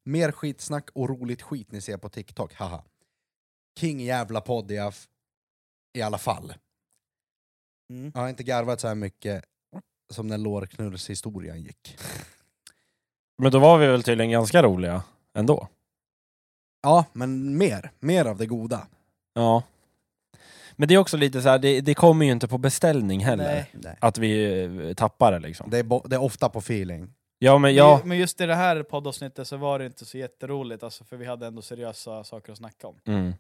Speaker 2: mer skitsnack och roligt skit ni ser på TikTok, haha. King jävla podd i aff- i alla fall.
Speaker 3: Mm.
Speaker 2: Jag har inte garvat så här mycket som när lårknullshistorien gick.
Speaker 1: Men då var vi väl tydligen ganska roliga ändå.
Speaker 2: Ja, men mer. Mer av det goda.
Speaker 1: Ja. Men det är också lite så här, det, det kommer ju inte på beställning heller.
Speaker 3: Nej.
Speaker 2: Nej.
Speaker 1: Att vi eh, tappar det liksom.
Speaker 2: Det, är bo- det är ofta på feeling.
Speaker 1: Ja men ja.
Speaker 3: Men just i det här poddavsnittet så var det inte så jätteroligt, alltså, för vi hade ändå seriösa saker att snacka om.
Speaker 1: Mm.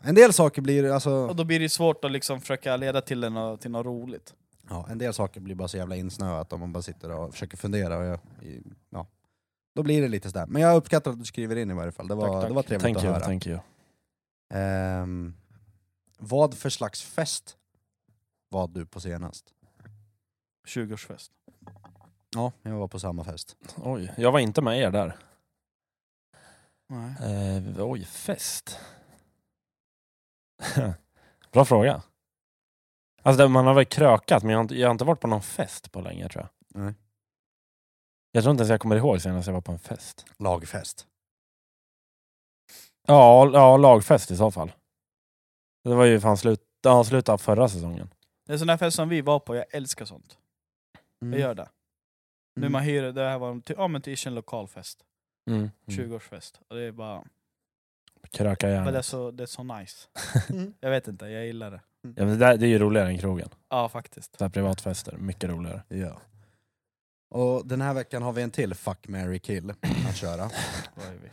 Speaker 2: En del saker blir alltså,
Speaker 3: Och då blir det svårt att liksom försöka leda till, det nå- till något roligt.
Speaker 2: ja, en del saker blir bara så jävla insnöat om man bara sitter och försöker fundera. Och jag, i, ja. Då blir det lite sådär. Men jag uppskattar att du skriver in i varje fall, det var,
Speaker 3: Tack, tack.
Speaker 2: Det var trevligt
Speaker 1: Thank
Speaker 2: att
Speaker 1: you,
Speaker 2: höra.
Speaker 1: thank you.
Speaker 2: Ehm, vad för slags fest var du på senast?
Speaker 3: 20-årsfest.
Speaker 2: Ja, jag var på samma fest.
Speaker 1: Oj, jag var inte med er där.
Speaker 3: Nej.
Speaker 1: Eh, oj, fest. Bra fråga. Alltså det- man har väl krökat, men jag har, inte, jag har inte varit på någon fest på länge tror jag.
Speaker 2: Nej.
Speaker 1: Jag tror inte ens jag kommer ihåg senast jag var på en fest.
Speaker 2: Lagfest.
Speaker 1: Ja, ja lagfest i så fall. Det var ju fan slut, ja, slutet av förra säsongen.
Speaker 3: Det är sån här fest som vi var på, jag älskar sånt.
Speaker 2: Mm.
Speaker 3: Jag gör det. Nu man hyr, det här var en, ty- ja, men typ en lokal fest.
Speaker 1: Mm. Mm.
Speaker 3: 20-årsfest. Och det är bara,
Speaker 1: Kröka
Speaker 3: men det, är
Speaker 1: gärna.
Speaker 3: så, det är så nice.
Speaker 2: Mm.
Speaker 3: Jag vet inte, jag gillar det.
Speaker 1: Ja, men det, där, det är ju roligare än krogen.
Speaker 3: Ja faktiskt.
Speaker 1: Så här privatfester, mycket roligare.
Speaker 2: Ja. Och den här veckan har vi en till Fuck, Mary kill att köra.
Speaker 3: Vad är vi?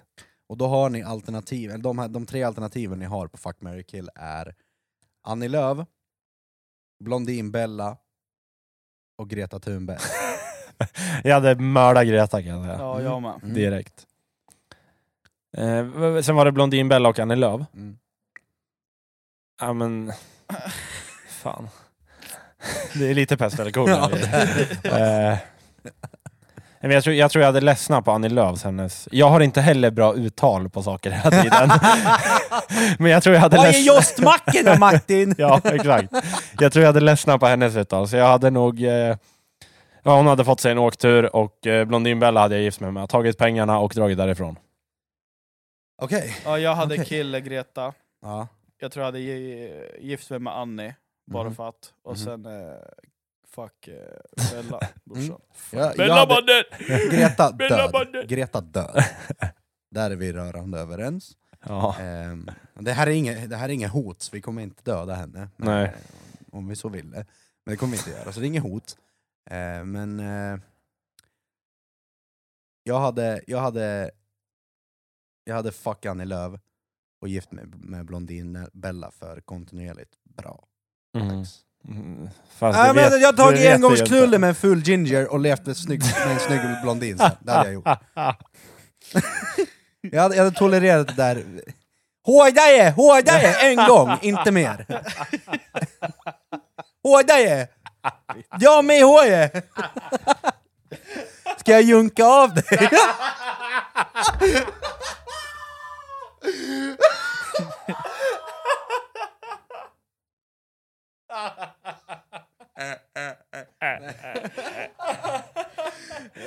Speaker 2: Och då har ni alternativ, eller de, här, de tre alternativen ni har på Fuck, Mary kill är Annie Lööf, Blondin Bella och Greta Thunberg.
Speaker 1: jag hade mördat Greta kan jag säga.
Speaker 3: Ja jag med.
Speaker 2: Mm.
Speaker 1: Direkt. Eh, v- sen var det Blondin Bella och Annie Lööf.
Speaker 2: Mm.
Speaker 1: Ja men... Fan. Det är lite pest eller kolera.
Speaker 2: Ja,
Speaker 1: det är- eh, men jag, tror, jag tror jag hade ledsnat på Annie Lööfs hennes... Jag har inte heller bra uttal på saker hela tiden. men jag tror jag hade
Speaker 2: Vad är
Speaker 1: ledsnat...
Speaker 2: jostmacken då Martin?
Speaker 1: Ja, exakt. Jag tror jag hade ledsnat på hennes uttal, så jag hade nog... Eh, ja, hon hade fått sig en åktur och eh, Blondin Bella hade jag gift mig med. Tagit pengarna och dragit därifrån.
Speaker 2: Okej.
Speaker 3: Ja, jag hade
Speaker 2: Okej.
Speaker 3: kille Greta,
Speaker 2: Ja.
Speaker 3: jag tror jag hade gi- gift mig med Annie, bara
Speaker 2: Mhm.
Speaker 3: för att. Och
Speaker 2: Mhm. Mm.
Speaker 3: sen eh, fuck eh, Bella, brorsan.
Speaker 2: Jag, jag
Speaker 3: Bella
Speaker 2: hade-
Speaker 3: mannen!
Speaker 2: Greta
Speaker 3: Bella
Speaker 2: död.
Speaker 3: Bundet.
Speaker 2: Greta död. Där är vi rörande överens.
Speaker 1: Ja.
Speaker 2: Ehm, det, här är inget, det här är inget hot, så vi kommer inte döda henne. Men,
Speaker 1: Nej.
Speaker 2: eh, Om vi så ville. Men det kommer vi inte göra, så det är inget hot. Eh, men eh, jag hade jag hade, jag hade fuck Annie Lööf och gift mig med blondin Bella för kontinuerligt bra.
Speaker 1: Mm.
Speaker 2: Tax.
Speaker 1: Mm. Fast
Speaker 2: Nej,
Speaker 1: det
Speaker 2: men
Speaker 1: vet-
Speaker 2: jag har
Speaker 1: det
Speaker 2: tagit
Speaker 1: vet jag
Speaker 2: engångsknullen
Speaker 1: inte.
Speaker 2: med en full ginger och levt med, snygg, med en snygg blondin sen. Det hade jag gjort. jag, hade, jag hade tolererat det där. Hårdare! Hårdare! En gång, inte mer. Hårdare! Jag med i håret! Ska jag junka av dig?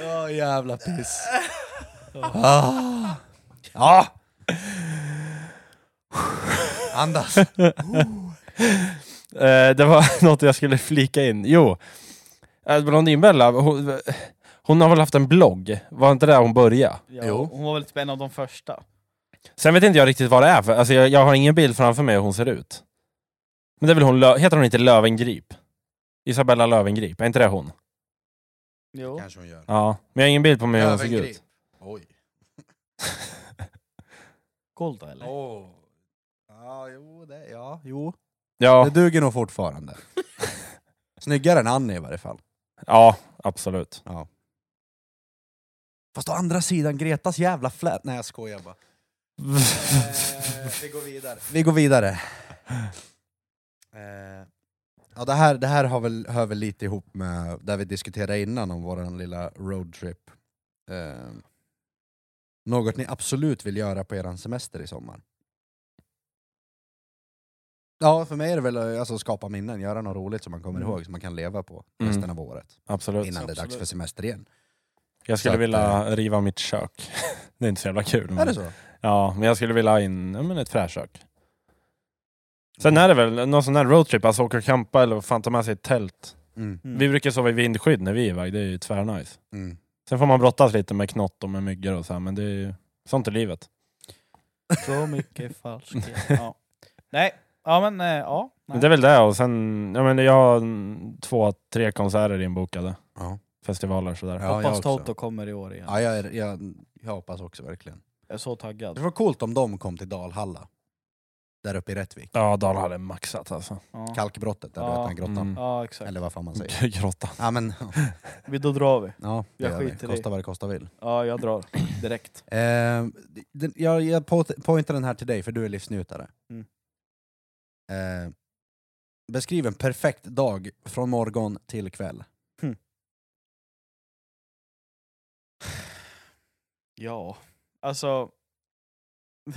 Speaker 2: Ja, jävla piss. Ah. Ja. Andas.
Speaker 1: Eh, det var något jag skulle flika in. Jo, eh, Blondin Bella, hon, hon har väl haft en blogg? Var inte där hon började?
Speaker 3: Ja,
Speaker 2: Jo.
Speaker 3: Hon var väl typ en av de första.
Speaker 1: Sen vet inte jag riktigt vad det är för, alltså jag, jag har ingen bild framför mig hur hon ser ut. Men det är väl hon, Lö- heter hon inte Lövengrip? Isabella Lövengrip, är inte det hon?
Speaker 3: Jo.
Speaker 2: Kanske hon gör.
Speaker 1: Ja, men jag har ingen bild på mig hur hon såg ut.
Speaker 2: Oj.
Speaker 3: Golda eller?
Speaker 2: Oh. Ja, jo, det, ja, jo.
Speaker 1: Ja,
Speaker 2: Det duger nog fortfarande. Snyggare än Annie i varje fall.
Speaker 1: ja absolut.
Speaker 2: Ja. Fast å andra sidan, Gretas jävla flät... Nej jag skojar bara. Eh, vi går vidare. Vi går vidare. Eh, ja, det, här, det här har väl, hör väl lite ihop med där vi diskuterade innan om vår lilla roadtrip. Eh, något ni absolut vill göra på er semester i sommar? Ja, för mig är det väl eh, alltså, skapa minnen, göra något roligt som man kommer
Speaker 1: Mm.
Speaker 2: ihåg, som man kan leva på
Speaker 1: Mm.
Speaker 2: resten av året.
Speaker 1: absolut.
Speaker 2: Innan det är dags
Speaker 3: absolut.
Speaker 2: för semester igen.
Speaker 1: Jag
Speaker 2: Så
Speaker 1: skulle
Speaker 2: att,
Speaker 1: vilja riva mitt kök. Det är inte så jävla kul.
Speaker 2: Är
Speaker 1: Men,
Speaker 2: det så?
Speaker 1: ja, men jag skulle vilja ha in ja, men ett fräschkök. Sen är det väl någon sån här roadtrip, alltså åka och campa eller vad fan, ta med sig ett tält.
Speaker 2: Mm.
Speaker 3: Mm.
Speaker 1: Vi brukar sova i vindskydd när vi är iväg, det är ju tvärnice.
Speaker 2: Mm.
Speaker 1: Sen får man brottas lite med knott och med myggor och så här, men det är ju sånt i livet.
Speaker 3: Så mycket falskhet. Ja. Nej, ja men eh, ja.
Speaker 1: Men det är väl det och sen, ja, men jag har mm, två, tre konserter inbokade.
Speaker 2: Ja.
Speaker 1: Festivaler sådär.
Speaker 2: Ja, jag
Speaker 3: Hoppas
Speaker 2: också.
Speaker 3: Toto kommer i år igen.
Speaker 2: Ja, jag, är, jag, jag hoppas också verkligen.
Speaker 3: Jag är så taggad.
Speaker 2: Det var coolt om de kom till Dalhalla. där uppe i Rättvik.
Speaker 1: Ja, Dal hade maxat alltså.
Speaker 3: Ja,
Speaker 2: Kalkbrottet, där du
Speaker 3: Ja.
Speaker 2: vet, den grottan.
Speaker 1: Mm.
Speaker 3: ja exakt.
Speaker 2: Eller vad fan man säger.
Speaker 1: Grottan.
Speaker 2: Ja men,
Speaker 3: Vi, då drar vi.
Speaker 2: ja, det
Speaker 3: Jag
Speaker 2: gör vi.
Speaker 3: skiter i.
Speaker 2: Kosta vad det kosta vill.
Speaker 3: Ja, jag drar. Direkt.
Speaker 2: Eh, den, jag jag po- pointar den här till dig för du är livsnjutare.
Speaker 3: Mm.
Speaker 2: Eh, beskriv en perfekt dag från morgon till kväll.
Speaker 3: Ja, alltså...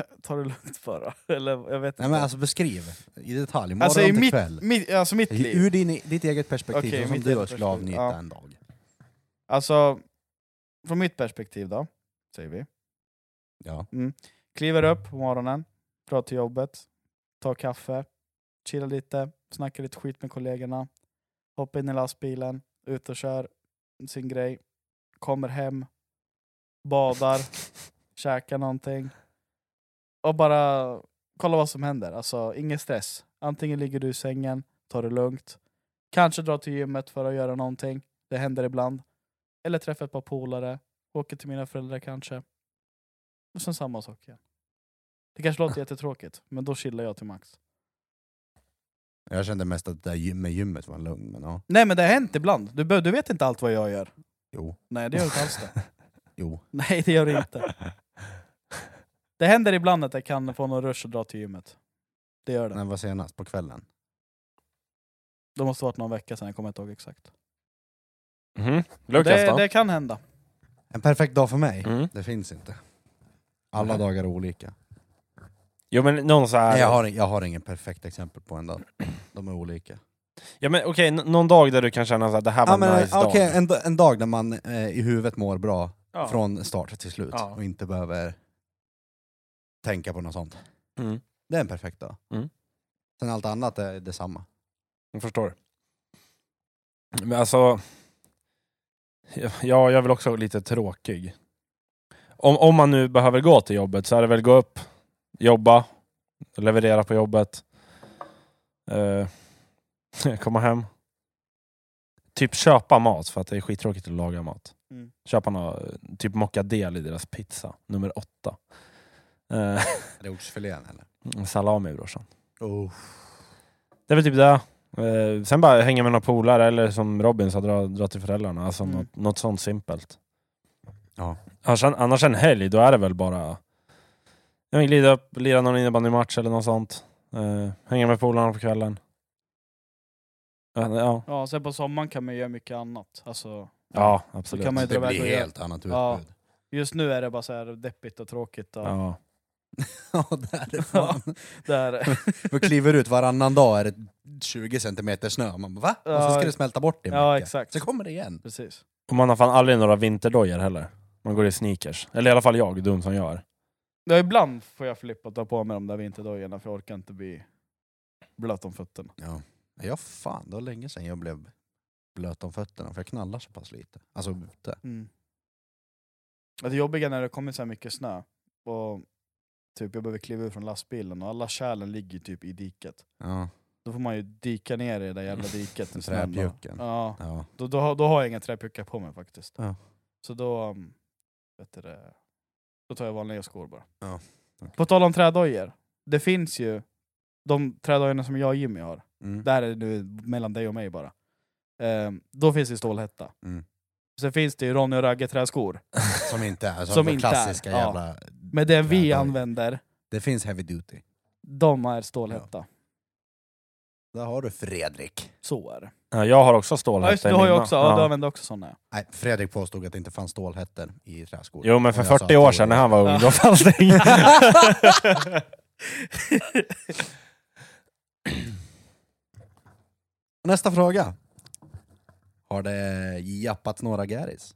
Speaker 3: Ta det lugnt bara. Eller jag vet
Speaker 2: Nej
Speaker 3: inte.
Speaker 2: men alltså beskriv i detalj, morgon
Speaker 3: Alltså, i
Speaker 2: till
Speaker 3: mitt,
Speaker 2: kväll.
Speaker 3: mitt, alltså mitt liv.
Speaker 2: Ur din, ditt eget perspektiv,
Speaker 3: Okej,
Speaker 2: så som
Speaker 3: mitt
Speaker 2: du
Speaker 3: eget
Speaker 2: skulle
Speaker 3: perspektiv,
Speaker 2: avnjuta
Speaker 3: ja.
Speaker 2: en dag.
Speaker 3: Alltså, från mitt perspektiv då, säger vi.
Speaker 2: Ja.
Speaker 3: Kliver
Speaker 2: Mm.
Speaker 3: upp på morgonen, drar till jobbet, tar kaffe, chillar lite, snackar lite skit med kollegorna, hoppar in i lastbilen, ut och kör sin grej, kommer hem, badar, käkar någonting och bara kolla vad som händer. Alltså ingen stress. Antingen ligger du i sängen, tar det lugnt, kanske drar till gymmet för att göra någonting, det händer ibland, eller träffar ett par polare, åker till mina föräldrar kanske. Och sen samma sak igen. Det kanske låter jättetråkigt, men då chillar jag till max.
Speaker 2: Jag kände mest att det där gym- med gymmet var lugn, men ja.
Speaker 3: Nej men det har hänt ibland. Du, be- du vet inte allt vad jag gör.
Speaker 2: Jo,
Speaker 3: Nej det gör du inte alls det.
Speaker 2: jo.
Speaker 3: Nej det gör du inte. Det händer ibland att jag kan få någon rush och dra till gymmet. Det gör det.
Speaker 2: När var senast? På kvällen?
Speaker 3: Det måste ha varit någon vecka sedan, jag kommer inte ihåg exakt.
Speaker 2: Mm-hmm.
Speaker 1: Mm. Lukas
Speaker 3: Det,
Speaker 1: då?
Speaker 3: det kan hända.
Speaker 2: En perfekt dag för mig?
Speaker 1: Mm.
Speaker 2: Det finns inte. Alla
Speaker 1: Mhm.
Speaker 2: dagar är olika.
Speaker 1: Jo men någon så här...
Speaker 2: Nej, jag, har, jag har ingen perfekt exempel på en dag. De är olika.
Speaker 1: Ja men okej, n- någon dag där du kan känna att det här var
Speaker 2: Ja, men,
Speaker 1: en nice
Speaker 2: okej,
Speaker 1: dag.
Speaker 2: en, da- en dag där man eh, i huvudet mår bra
Speaker 1: Ja.
Speaker 2: från start till slut
Speaker 1: Ja.
Speaker 2: och inte behöver tänka på något sånt.
Speaker 1: Mm.
Speaker 2: Det är en perfekt dag.
Speaker 1: Mm.
Speaker 2: Sen allt annat är detsamma.
Speaker 1: Jag förstår. Men alltså... Ja, jag är väl också lite tråkig. Om, om man nu behöver gå till jobbet så är det väl gå upp, jobba, leverera på jobbet, eh, komma hem. Typ köpa mat, för att det är skittråkigt att laga mat.
Speaker 3: Mm.
Speaker 1: Köpa nå, typ mockadel i deras pizza, nummer åtta. Eh,
Speaker 2: Är det oxfilén eller?
Speaker 1: salami brorsan.
Speaker 2: Oh.
Speaker 1: Det är väl typ det. Eh, sen bara hänga med några polare, eller som Robin sa, dra, dra till föräldrarna. Alltså
Speaker 3: Mm.
Speaker 1: något, något sånt simpelt.
Speaker 2: Ja.
Speaker 1: Annars, annars en helg, då är det väl bara ja, men glida upp, lira någon innebandymatch eller något sånt. Eh, hänga med polarna på kvällen. Eh, ja.
Speaker 3: Ja, sen på sommaren kan man göra mycket annat. Alltså,
Speaker 1: ja, absolut.
Speaker 3: kan man ju
Speaker 2: Det
Speaker 3: dra iväg
Speaker 2: blir
Speaker 3: och göra-
Speaker 2: helt annat utbud.
Speaker 3: Ja. just nu är det bara så här deppigt och tråkigt. Och
Speaker 1: ja.
Speaker 2: Ja, det är det fan.
Speaker 3: det här,
Speaker 2: Man kliver ut varannan dag är det 20 centimeter snö. Man bara va? Och så
Speaker 3: Ja.
Speaker 2: ska det smälta bort i en
Speaker 3: ja
Speaker 2: vecka.
Speaker 3: exakt.
Speaker 2: Så kommer det igen.
Speaker 3: Precis.
Speaker 1: Och man har fan aldrig några vinterdojor heller. Man går i sneakers. Eller i alla fall jag, dum som jag är.
Speaker 3: Ja, ibland får jag flippa och ta på mig de där vinterdojorna för jag orkar inte bli blöt om fötterna.
Speaker 2: Ja. ja, fan det var länge sedan jag blev blöt om fötterna för jag knallar så pass lite. Alltså ute.
Speaker 3: Mm. Det jobbiga när det kommer så här mycket snö och typ jag behöver kliva ut från lastbilen och alla kärlen ligger typ i diket.
Speaker 2: Ja,
Speaker 3: Då får man ju dika ner i det där jävla diket. i snön då.
Speaker 2: träpjucken.
Speaker 3: Ja,
Speaker 2: ja.
Speaker 3: då, då, har- då har jag inga träpjuckar på mig faktiskt.
Speaker 2: Ja.
Speaker 3: Så då, um, vet du, det, då tar jag vanliga skor bara.
Speaker 2: Ja, okej.
Speaker 3: På tal om trädojor, det finns ju de trädojorna som jag och Jimmy har.
Speaker 2: Mm.
Speaker 3: Där är det nu mellan dig och mig bara. Ehm, då finns det ju stålhätta.
Speaker 2: Mm.
Speaker 3: Sen finns det ju Ronny och Ragge träskor.
Speaker 2: Som inte är,
Speaker 3: Som
Speaker 2: som inte
Speaker 3: inte är,
Speaker 2: klassiska
Speaker 3: ja.
Speaker 2: jävla...
Speaker 3: Men det vi
Speaker 2: Trädojor.
Speaker 3: använder,
Speaker 2: Det finns heavy duty.
Speaker 3: de är stålhätta.
Speaker 2: Där har du Fredrik.
Speaker 3: Så är det.
Speaker 1: Ja, Eh, Jag har också
Speaker 3: Ja, just,
Speaker 1: stålhätta
Speaker 3: det,
Speaker 1: i
Speaker 3: du har ju
Speaker 1: mina.
Speaker 3: också, ja, du använder också sådana.
Speaker 2: Nej, Fredrik påstod att det inte fanns stålhättor i träskor. Alltså,
Speaker 1: Jo men för
Speaker 2: Och jag sa
Speaker 1: 40
Speaker 2: att
Speaker 1: år
Speaker 2: det
Speaker 1: sedan
Speaker 2: var
Speaker 1: när han var ung,
Speaker 3: Ja.
Speaker 1: då fanns det inga.
Speaker 2: Nästa fråga. Har det jappat några gäris?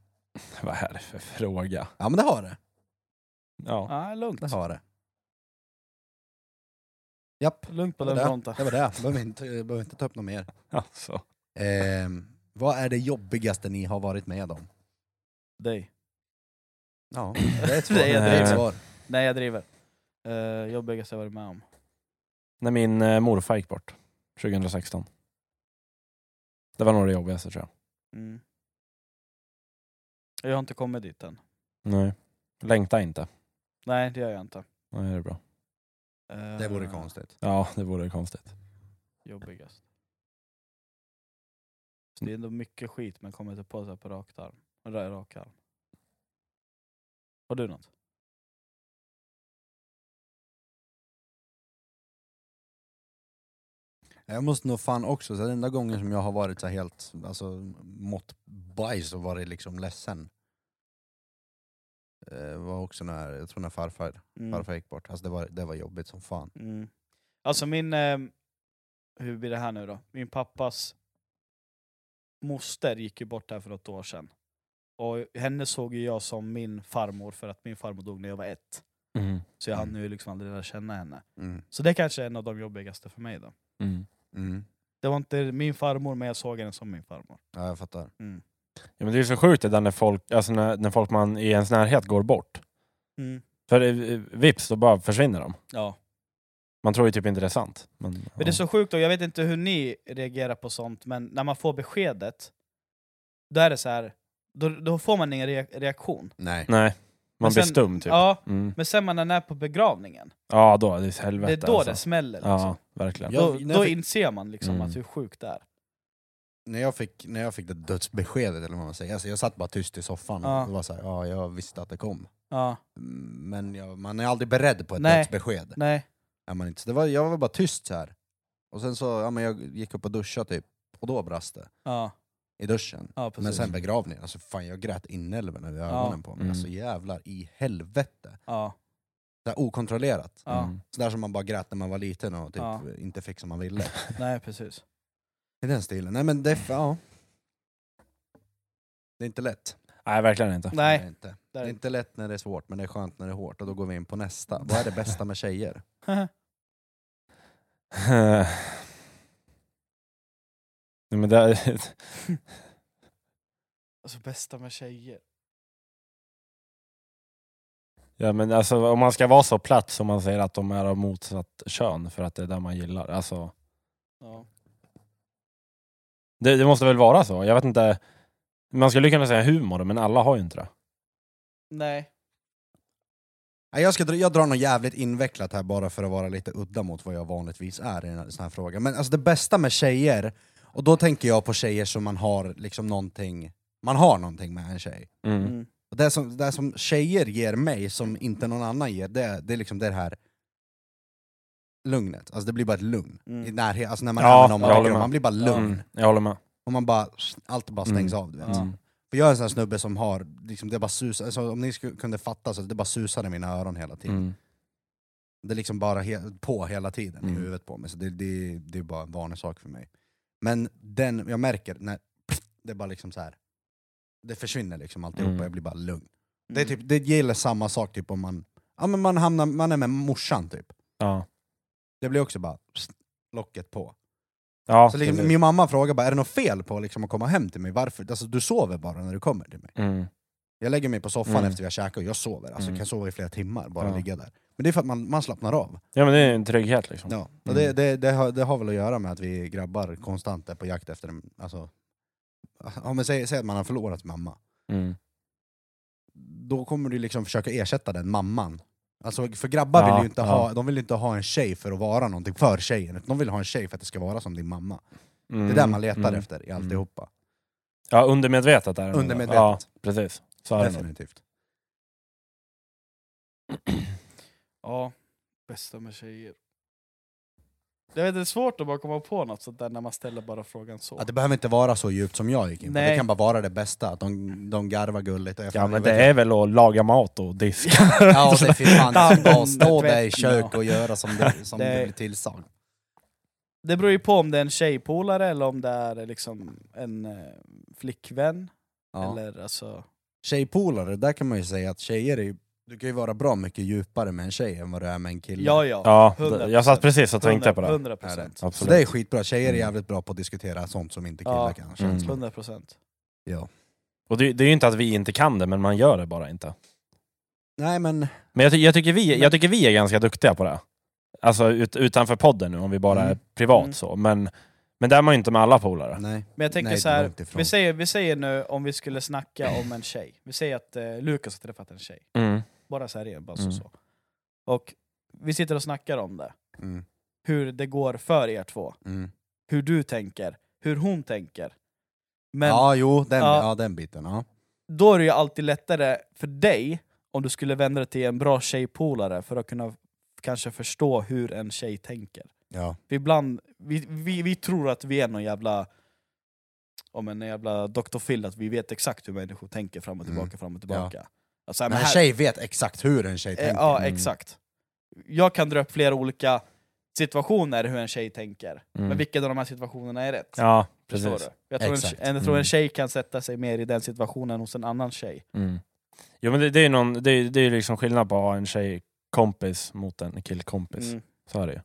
Speaker 1: Vad är det för fråga?
Speaker 2: Ja men det har det.
Speaker 1: Ja.
Speaker 3: Ja, lugnt.
Speaker 2: Det har det. Japp,
Speaker 3: Lugnt på
Speaker 2: det var
Speaker 3: den
Speaker 2: det.
Speaker 3: fronten.
Speaker 2: det var det. Behöver inte, behöver inte ta upp något mer.
Speaker 1: Alltså.
Speaker 2: Ehm, vad är det jobbigaste ni har varit med om?
Speaker 3: Dig.
Speaker 2: Ja, det är ett svar.
Speaker 3: Det
Speaker 2: Det
Speaker 3: är-
Speaker 2: är, ett svar.
Speaker 3: Nej, jag driver. Uh, jobbigaste jag varit med om.
Speaker 1: När min eh, morfar gick bort 2016. Det var nog det jobbigaste tror jag.
Speaker 3: Mm. Jag har inte kommit dit än.
Speaker 1: Nej. Längta inte.
Speaker 3: Nej, det gör jag inte.
Speaker 1: Nej, det är bra.
Speaker 3: Eh,
Speaker 2: Det vore konstigt.
Speaker 1: Ja, det vore konstigt.
Speaker 3: Jobbigast. Så det är ändå mycket skit man kommer inte på sig på rakt arm. Ra- Rak arm. Har du något?
Speaker 2: Jag måste nog fan också, så den enda gången som jag har varit så här helt, alltså mått bajs och varit liksom ledsen. Eh, var också när, jag tror när farfar, farfar gick bort. Alltså det var, det var jobbigt som fan.
Speaker 3: Mm. Alltså min... Eh, hur blir det här nu då? Min pappas moster gick ju bort här för något år sedan. Och henne såg ju jag som min farmor för att min farmor dog när jag var ett.
Speaker 1: Mm.
Speaker 3: Så jag hann
Speaker 2: Mm.
Speaker 3: ju liksom aldrig lära känna henne.
Speaker 2: Mm.
Speaker 3: Så det kanske är en av de jobbigaste för mig då.
Speaker 1: Mm.
Speaker 2: Mm.
Speaker 3: Det var inte min farmor men jag såg henne som min farmor.
Speaker 2: Ja jag fattar.
Speaker 3: Mm.
Speaker 1: Ja, men det är ju så sjukt det där när folk, alltså när, när folk man i ens närhet går bort.
Speaker 3: Mm.
Speaker 1: För eh, vips, då bara försvinner de.
Speaker 3: Ja.
Speaker 1: Man tror ju typ inte det är sant. Men,
Speaker 3: Men det är så sjukt, och jag vet inte hur ni reagerar på sånt, men när man får beskedet, då är det så här, då, då får man ingen re- reaktion.
Speaker 2: Nej.
Speaker 1: Nej, man
Speaker 3: Men
Speaker 1: blir
Speaker 3: sen-
Speaker 1: stum typ. Ja,
Speaker 3: Ja,
Speaker 1: mm.
Speaker 3: men sen när man är på begravningen,
Speaker 1: ja då är det helvete
Speaker 3: det är då
Speaker 1: alltså.
Speaker 3: det smäller. Liksom.
Speaker 1: Ja, verkligen.
Speaker 2: Ja. Jag-
Speaker 3: då
Speaker 2: när
Speaker 3: då
Speaker 2: jag fick-
Speaker 3: inser man liksom
Speaker 1: Mm.
Speaker 3: att hur sjukt det är.
Speaker 2: När jag fick, när jag fick det dödsbeskedet, eller vad man säger, alltså jag satt bara tyst i soffan
Speaker 3: Ja.
Speaker 2: och var såhär, ja jag visste att det kom.
Speaker 3: Ja,
Speaker 2: Mm, Men jag, man är aldrig beredd på ett
Speaker 3: Nej.
Speaker 2: dödsbesked.
Speaker 3: nej.
Speaker 2: Är man inte. Så det var, jag var bara tyst så här. Och sen så, ja men jag gick upp och duschade typ, och då brast det.
Speaker 3: Ja,
Speaker 2: I duschen.
Speaker 3: ja precis.
Speaker 2: Men sen begravningen, alltså fan jag grät inälvorna ur ögonen på mig.
Speaker 1: Mm.
Speaker 2: Alltså jävlar i helvete.
Speaker 3: ja,
Speaker 2: Så här okontrollerat.
Speaker 3: ja,
Speaker 1: Mm.
Speaker 2: Sådär som man bara grät när man var liten och typ
Speaker 3: Ja.
Speaker 2: inte fick som man ville.
Speaker 3: nej precis.
Speaker 2: I den stilen. Nej men det, är fa- ja. Det är inte lätt.
Speaker 1: Nej, verkligen inte.
Speaker 2: Det,
Speaker 3: Nej,
Speaker 2: är inte.
Speaker 3: det
Speaker 2: det
Speaker 3: är
Speaker 2: är
Speaker 3: det inte.
Speaker 2: inte lätt när det är svårt, men det är skönt när det är hårt. Och då går vi in på nästa. Vad är det bästa med tjejer?
Speaker 1: Nej, men det,
Speaker 3: Alltså bästa med tjejer.
Speaker 1: ja, men alltså, om man ska vara så platt som man säger att de är av motsatt kön för att det är det man gillar. Alltså,
Speaker 3: Ja.
Speaker 1: det, det måste väl vara så. Jag vet inte. Man skulle kunna säga humor, men alla har ju inte det.
Speaker 3: Nej,
Speaker 2: Nej, Jag, ska, dra- jag drar något jävligt invecklat här bara för att vara lite udda mot vad jag vanligtvis är i en sån här fråga. Men alltså det bästa med tjejer, och då tänker jag på tjejer som man har liksom någonting, man har någonting med en tjej.
Speaker 1: Mm.
Speaker 3: mm.
Speaker 2: Och det, som, det som tjejer ger mig som inte någon annan ger, det, det är liksom det här lugnet. Alltså det blir bara ett lugn.
Speaker 3: Mm.
Speaker 2: I närhet, alltså när man
Speaker 1: Ja,
Speaker 2: är med någon man
Speaker 1: jag
Speaker 2: tycker
Speaker 1: håller
Speaker 2: om,
Speaker 1: med.
Speaker 2: man blir bara lugn.
Speaker 1: Mm, jag håller med.
Speaker 2: Och man bara, allt bara stängs av. Du vet.
Speaker 1: Mm.
Speaker 2: För jag är en sån här snubbe som har, liksom, det bara susar, alltså, om ni sku- kunde fatta så det bara susar i mina öron hela tiden.
Speaker 1: Mm.
Speaker 2: Det är liksom bara he- på hela tiden i
Speaker 1: Mm.
Speaker 2: huvudet på mig, så det, det, det är bara en vanlig sak för mig. Men den, jag märker när det bara liksom så här. det försvinner liksom alltihopa,
Speaker 1: Mm.
Speaker 2: jag blir bara lugn. Det, är
Speaker 3: mm.
Speaker 2: typ, det gäller samma sak typ om man, ja, men man, hamnar, man är med morsan typ.
Speaker 1: Ja.
Speaker 2: Det blir också bara locket på.
Speaker 1: Ja,
Speaker 2: Så liksom,
Speaker 1: precis.
Speaker 2: min mamma frågar bara, är det något fel på liksom, att komma hem till mig? Varför? Alltså, du sover bara när du kommer till mig.
Speaker 1: mm.
Speaker 2: Jag lägger mig på soffan
Speaker 1: Mm.
Speaker 2: efter vi har käkat och jag sover. Alltså,
Speaker 1: Mm.
Speaker 2: Jag kan sova i flera timmar, bara
Speaker 1: Ja.
Speaker 2: ligga där. Men det är för att man, man slappnar av.
Speaker 1: ja, men det är en trygghet liksom.
Speaker 2: Ja. Och det, det, det, har, det har väl att göra med att vi grabbar konstant är på jakt efter en... Alltså, ja, men säg, säg att man har förlorat mamma.
Speaker 1: Mm.
Speaker 2: Då kommer du liksom försöka ersätta den mamman. Alltså, för grabbar
Speaker 1: Ja,
Speaker 2: vill ju inte,
Speaker 1: ja.
Speaker 2: ha, de vill inte ha en tjej för att vara någonting för tjejen. utan De vill ha en tjej för att det ska vara som din mamma.
Speaker 1: Mm.
Speaker 2: Det är det man letar
Speaker 1: Mm.
Speaker 2: efter i alltihopa.
Speaker 1: Ja, undermedvetet är det. nog.
Speaker 2: Undermedvetet.
Speaker 1: Ja, precis. Så är det nog.
Speaker 2: Definitivt.
Speaker 3: Ja, bästa med tjejer. Jag vet, det är svårt att bara komma på något sånt där när man ställer bara frågan så.
Speaker 2: Ja, det behöver inte vara så djupt som jag gick in på.
Speaker 3: Nej.
Speaker 2: Det kan bara vara det bästa, att de, de garvar gulligt. Och jag
Speaker 1: Ja,
Speaker 2: fan-
Speaker 1: men
Speaker 2: jag
Speaker 1: det
Speaker 2: vet
Speaker 1: är väl att laga mat och diska.
Speaker 2: Ja, och det finns fan
Speaker 3: Dammet,
Speaker 2: inte bara att stå där i
Speaker 3: tvätt,
Speaker 2: kök och göra som du, som
Speaker 3: Det-
Speaker 2: du blir tillsagd.
Speaker 3: Det beror ju på om det är en tjejpolare eller om det är liksom en eh, flickvän.
Speaker 2: Ja.
Speaker 3: Eller alltså...
Speaker 2: Tjejpolare, där kan man ju säga att tjejer är ju, du kan ju vara bra mycket djupare med en tjej än vad du är med en kille.
Speaker 3: Ja, ja.
Speaker 1: Ja,
Speaker 3: 100%.
Speaker 1: jag satt precis och tänkte på det.
Speaker 3: 100
Speaker 2: Är
Speaker 3: procent.
Speaker 2: Så
Speaker 1: Absolut.
Speaker 2: det är skitbra, tjejer är
Speaker 1: Mm.
Speaker 2: jävligt bra på att diskutera sånt som inte
Speaker 3: Ja.
Speaker 2: killar kan.
Speaker 1: Mm.
Speaker 2: känns det.
Speaker 3: 100 procent.
Speaker 2: Ja.
Speaker 1: Och det, det är ju inte att vi inte kan det, men man gör det bara inte.
Speaker 2: Nej men,
Speaker 1: Men jag, ty- jag, tycker, vi, jag tycker vi är ganska duktiga på det. Alltså ut, utanför podden nu, om vi bara
Speaker 2: Mm.
Speaker 1: är privat
Speaker 3: Mm.
Speaker 1: så. Men, men där är man ju inte med alla polare.
Speaker 2: nej.
Speaker 3: Men jag tänker
Speaker 2: Nej,
Speaker 3: så här,
Speaker 2: långt ifrån.
Speaker 3: vi säger, vi säger nu om vi skulle snacka om en tjej. Vi säger att eh, Lukas har träffat en tjej.
Speaker 1: Mm.
Speaker 3: Bara så här igen, bara så,
Speaker 1: Mm.
Speaker 3: så. Och vi sitter och snackar om det.
Speaker 2: Mm.
Speaker 3: Hur det går för er två.
Speaker 2: Mm.
Speaker 3: Hur du tänker. Hur hon tänker. Men
Speaker 2: ja, jo, den,
Speaker 3: Ja.
Speaker 2: ja. den biten. Ja.
Speaker 3: då är det ju alltid lättare för dig om du skulle vända dig till en bra tjejpolare för att kunna kanske förstå hur en tjej tänker.
Speaker 2: Ja.
Speaker 3: För ibland, vi, vi, vi tror att vi är någon jävla om en jävla Dr. Phil, att vi vet exakt hur människor tänker fram och
Speaker 2: Mm.
Speaker 3: tillbaka, fram och tillbaka. Alltså,
Speaker 2: Men
Speaker 3: men
Speaker 2: en
Speaker 3: här-
Speaker 2: tjej vet exakt hur en tjej
Speaker 3: Eh,
Speaker 2: tänker.
Speaker 3: Ja,
Speaker 1: Mm.
Speaker 3: exakt. Jag kan dra upp flera olika situationer hur en tjej tänker,
Speaker 2: Mm.
Speaker 3: men vilken av de här situationerna är rätt?
Speaker 1: Ja,
Speaker 3: Förstår
Speaker 1: precis.
Speaker 3: du? Jag tror, en,
Speaker 2: Exakt.
Speaker 3: en, jag tror en
Speaker 1: Mm.
Speaker 3: tjej kan sätta sig mer i den situationen hos en annan tjej.
Speaker 1: Mm. Jo men det, det är ju någon, det, är- det är ju liksom skillnad på att ha en tjejkompis mot en killkompis.
Speaker 3: Mm,
Speaker 1: Så är det ju.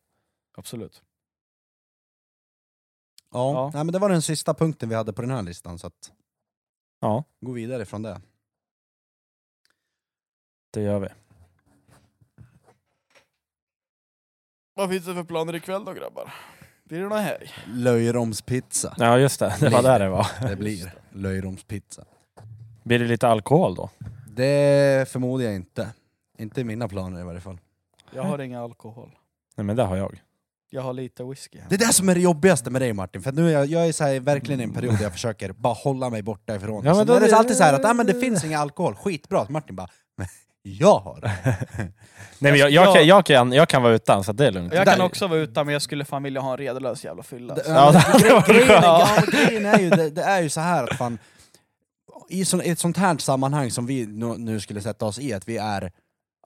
Speaker 3: absolut.
Speaker 2: Ja.
Speaker 3: Ja.
Speaker 2: Nej, men det var den sista punkten vi hade på den här listan, så att
Speaker 1: Ja,
Speaker 2: gå vidare från det.
Speaker 1: det gör vi.
Speaker 3: Vad finns det för planer ikväll då grabbar? Blir det någon helg?
Speaker 2: Löjromspizza.
Speaker 1: Ja just det, det var där det var.
Speaker 2: Det blir löjromspizza.
Speaker 1: Blir det lite alkohol då?
Speaker 2: Det förmodar jag inte. Inte i mina planer i varje fall.
Speaker 3: Jag har ingen alkohol.
Speaker 1: Nej men det har jag.
Speaker 3: Jag har lite whisky hemma.
Speaker 2: Det är det som är det jobbigaste med dig Martin, för nu är jag, jag är så här, verkligen i en period där jag försöker bara hålla mig borta ifrån
Speaker 1: Ja, men
Speaker 2: ja, men
Speaker 1: då-
Speaker 2: Sen är det alltid så här att ah, men det finns ingen alkohol, skitbra att Martin bara men jag har det.
Speaker 1: Nej men jag, jag, kan, jag, kan, jag kan vara utan så det är lugnt.
Speaker 3: Jag kan
Speaker 2: Där-
Speaker 3: också vara utan men jag skulle fan vilja ha en redlös jävla fylla.
Speaker 2: Det-
Speaker 1: Ja, det hade
Speaker 2: gre-
Speaker 1: varit
Speaker 2: grejen-
Speaker 1: skönt.
Speaker 2: ja, men Grejen är ju, det, det är ju så här att fan, i, sån, i ett sånt här sammanhang som vi nu, nu skulle sätta oss i, att vi är,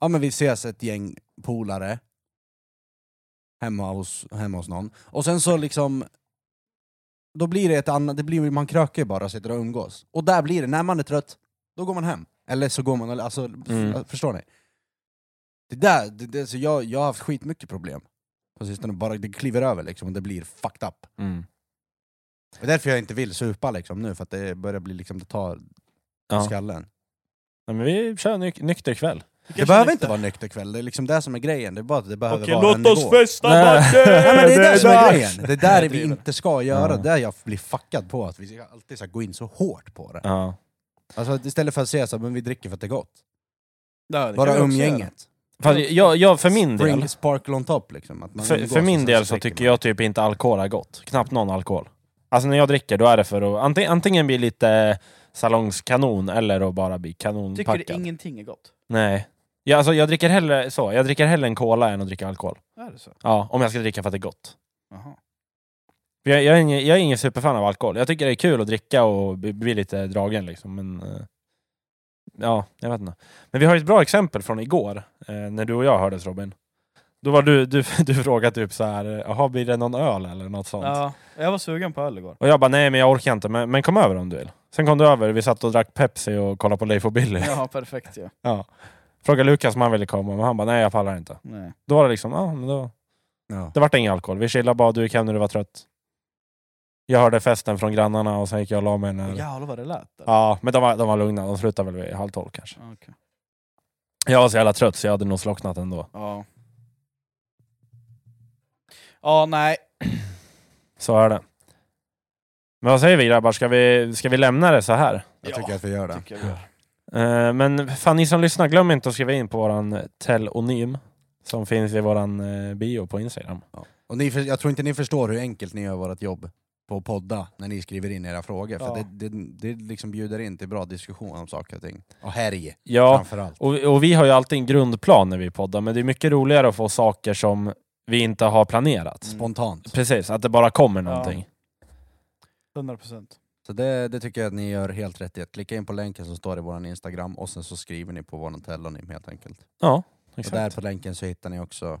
Speaker 2: ja men vi ses ett gäng polare hemma hos, hemma hos någon, och sen så liksom då blir det ett annat, det blir, ju- man krökar ju bara och sitter och umgås. Och där blir det, när man är trött, då går man hem. Eller så går man, alltså, f-
Speaker 1: Mm.
Speaker 2: förstår ni? Det där, det, det, så jag, jag har haft skitmycket problem på sistone, bara det kliver över liksom och det blir fucked up.
Speaker 1: Mm.
Speaker 2: Det är därför jag inte vill supa liksom nu, för att det börjar bli liksom, det tar
Speaker 1: Ja.
Speaker 2: skallen.
Speaker 1: Nej, men vi kör nyk- nykter kväll.
Speaker 2: Det behöver inte vara nykter kväll, det är liksom det som är grejen. Det är bara att det behöver vara en nivå.
Speaker 3: festa
Speaker 1: Nej.
Speaker 2: Nej, men det är det, som är
Speaker 1: dags!
Speaker 2: grejen! Det där är vi
Speaker 3: driver.
Speaker 2: inte ska göra,
Speaker 1: Ja.
Speaker 2: det är jag blir fuckad på, att vi ska alltid ska gå in så hårt på det.
Speaker 1: Ja.
Speaker 2: Alltså att istället för att säga så här, men vi dricker för att det är gott.
Speaker 3: Ja, det
Speaker 2: Bara
Speaker 3: kan vi också göra.
Speaker 2: umgänget.
Speaker 1: Fast jag, jag, för min del,
Speaker 2: Bring sparkle on top liksom. Att man
Speaker 1: för,
Speaker 2: umgås
Speaker 1: för
Speaker 2: och
Speaker 1: min
Speaker 2: sen
Speaker 1: del så tycker
Speaker 2: dricker
Speaker 1: jag typ inte alkohol är gott. Knappt någon alkohol. Alltså när jag dricker då är det för att antingen, antingen bli lite salongskanon eller att bara bli
Speaker 3: Tycker du
Speaker 1: kanonpackad.
Speaker 3: ingenting är gott?
Speaker 1: Nej. Jag, alltså, jag dricker hellre så. Jag dricker hellre en cola än att dricka alkohol.
Speaker 3: Är det så?
Speaker 1: Ja, om jag ska dricka för att det är gott.
Speaker 3: Jaha.
Speaker 1: För Jag, jag, är ingen, jag är ingen superfan av alkohol. Jag tycker det är kul att dricka och bli, bli lite dragen liksom. Men, eh, ja, jag vet inte. Men vi har ett bra exempel från igår, eh, när du och jag hördes Robin. Då var du, du, du frågade typ så här, jaha blir det någon öl eller något sånt?
Speaker 3: Ja, jag var sugen på öl igår.
Speaker 1: Och jag bara, nej men jag orkar inte, men, men kom över om du vill. Sen kom du över, vi satt och drack Pepsi och kollade på Leif och Billy.
Speaker 3: Ja, perfekt ju.
Speaker 1: Frågade Lukas om han ville komma, men han bara, nej jag pallar inte.
Speaker 3: Nej.
Speaker 1: Då var det liksom, ja men då
Speaker 2: man.
Speaker 1: Det vart ingen alkohol. Vi chillade bara, du gick hem när du var trött. Jag hörde festen från grannarna och sen gick jag och la mig. När...
Speaker 3: Åh,
Speaker 1: Ja.
Speaker 3: jävlar vad det lät. Där.
Speaker 1: men de var, de var lugna. De slutade väl vid halv tolv kanske.
Speaker 3: Ja, okej.
Speaker 1: Jag var så jävla trött så jag hade nog slocknat ändå.
Speaker 3: Ja. Ja, nej.
Speaker 1: Så är det. Men vad säger vi grabbar? Ska vi, ska vi lämna det så här?
Speaker 2: Ja, jag tycker att vi gör det.
Speaker 3: tycker jag vi gör.
Speaker 1: Eh, men fan ni som lyssnar, glöm inte att skriva in på våran telonym som finns i våran eh, bio på Instagram.
Speaker 2: Och ni, för- jag tror inte ni förstår hur enkelt ni gör vårt jobb på att podda när ni skriver in era frågor, för
Speaker 3: Ja.
Speaker 2: det, det, det liksom bjuder in till bra diskussion om saker och ting. Och härj,
Speaker 1: Ja,
Speaker 2: framförallt.
Speaker 1: och, och vi har ju alltid en grundplan när vi poddar, men det är mycket roligare att få saker som vi inte har planerat.
Speaker 2: Spontant.
Speaker 1: Precis, att det bara kommer
Speaker 3: Ja.
Speaker 1: någonting.
Speaker 3: 100 procent.
Speaker 2: Så det, det tycker jag att ni gör helt rätt i. Att klicka in på länken som står i vår Instagram och sen så skriver ni på vår telonym helt enkelt.
Speaker 1: Ja,
Speaker 2: Och
Speaker 1: exakt.
Speaker 2: där på länken så hittar ni också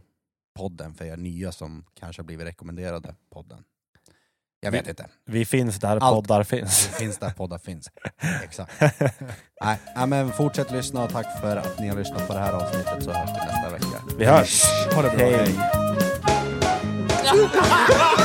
Speaker 2: podden för er nya som kanske har blivit rekommenderade podden. Jag vet inte.
Speaker 1: Vi finns där
Speaker 2: Allt.
Speaker 1: poddar finns.
Speaker 2: Det finns där poddar finns. Exakt. Nej, nej, men fortsätt lyssna och tack för att ni har lyssnat på det här avsnittet så hörs vi nästa vecka.
Speaker 1: Vi hörs!
Speaker 2: Ha det bra.
Speaker 1: Hej.
Speaker 2: Hej.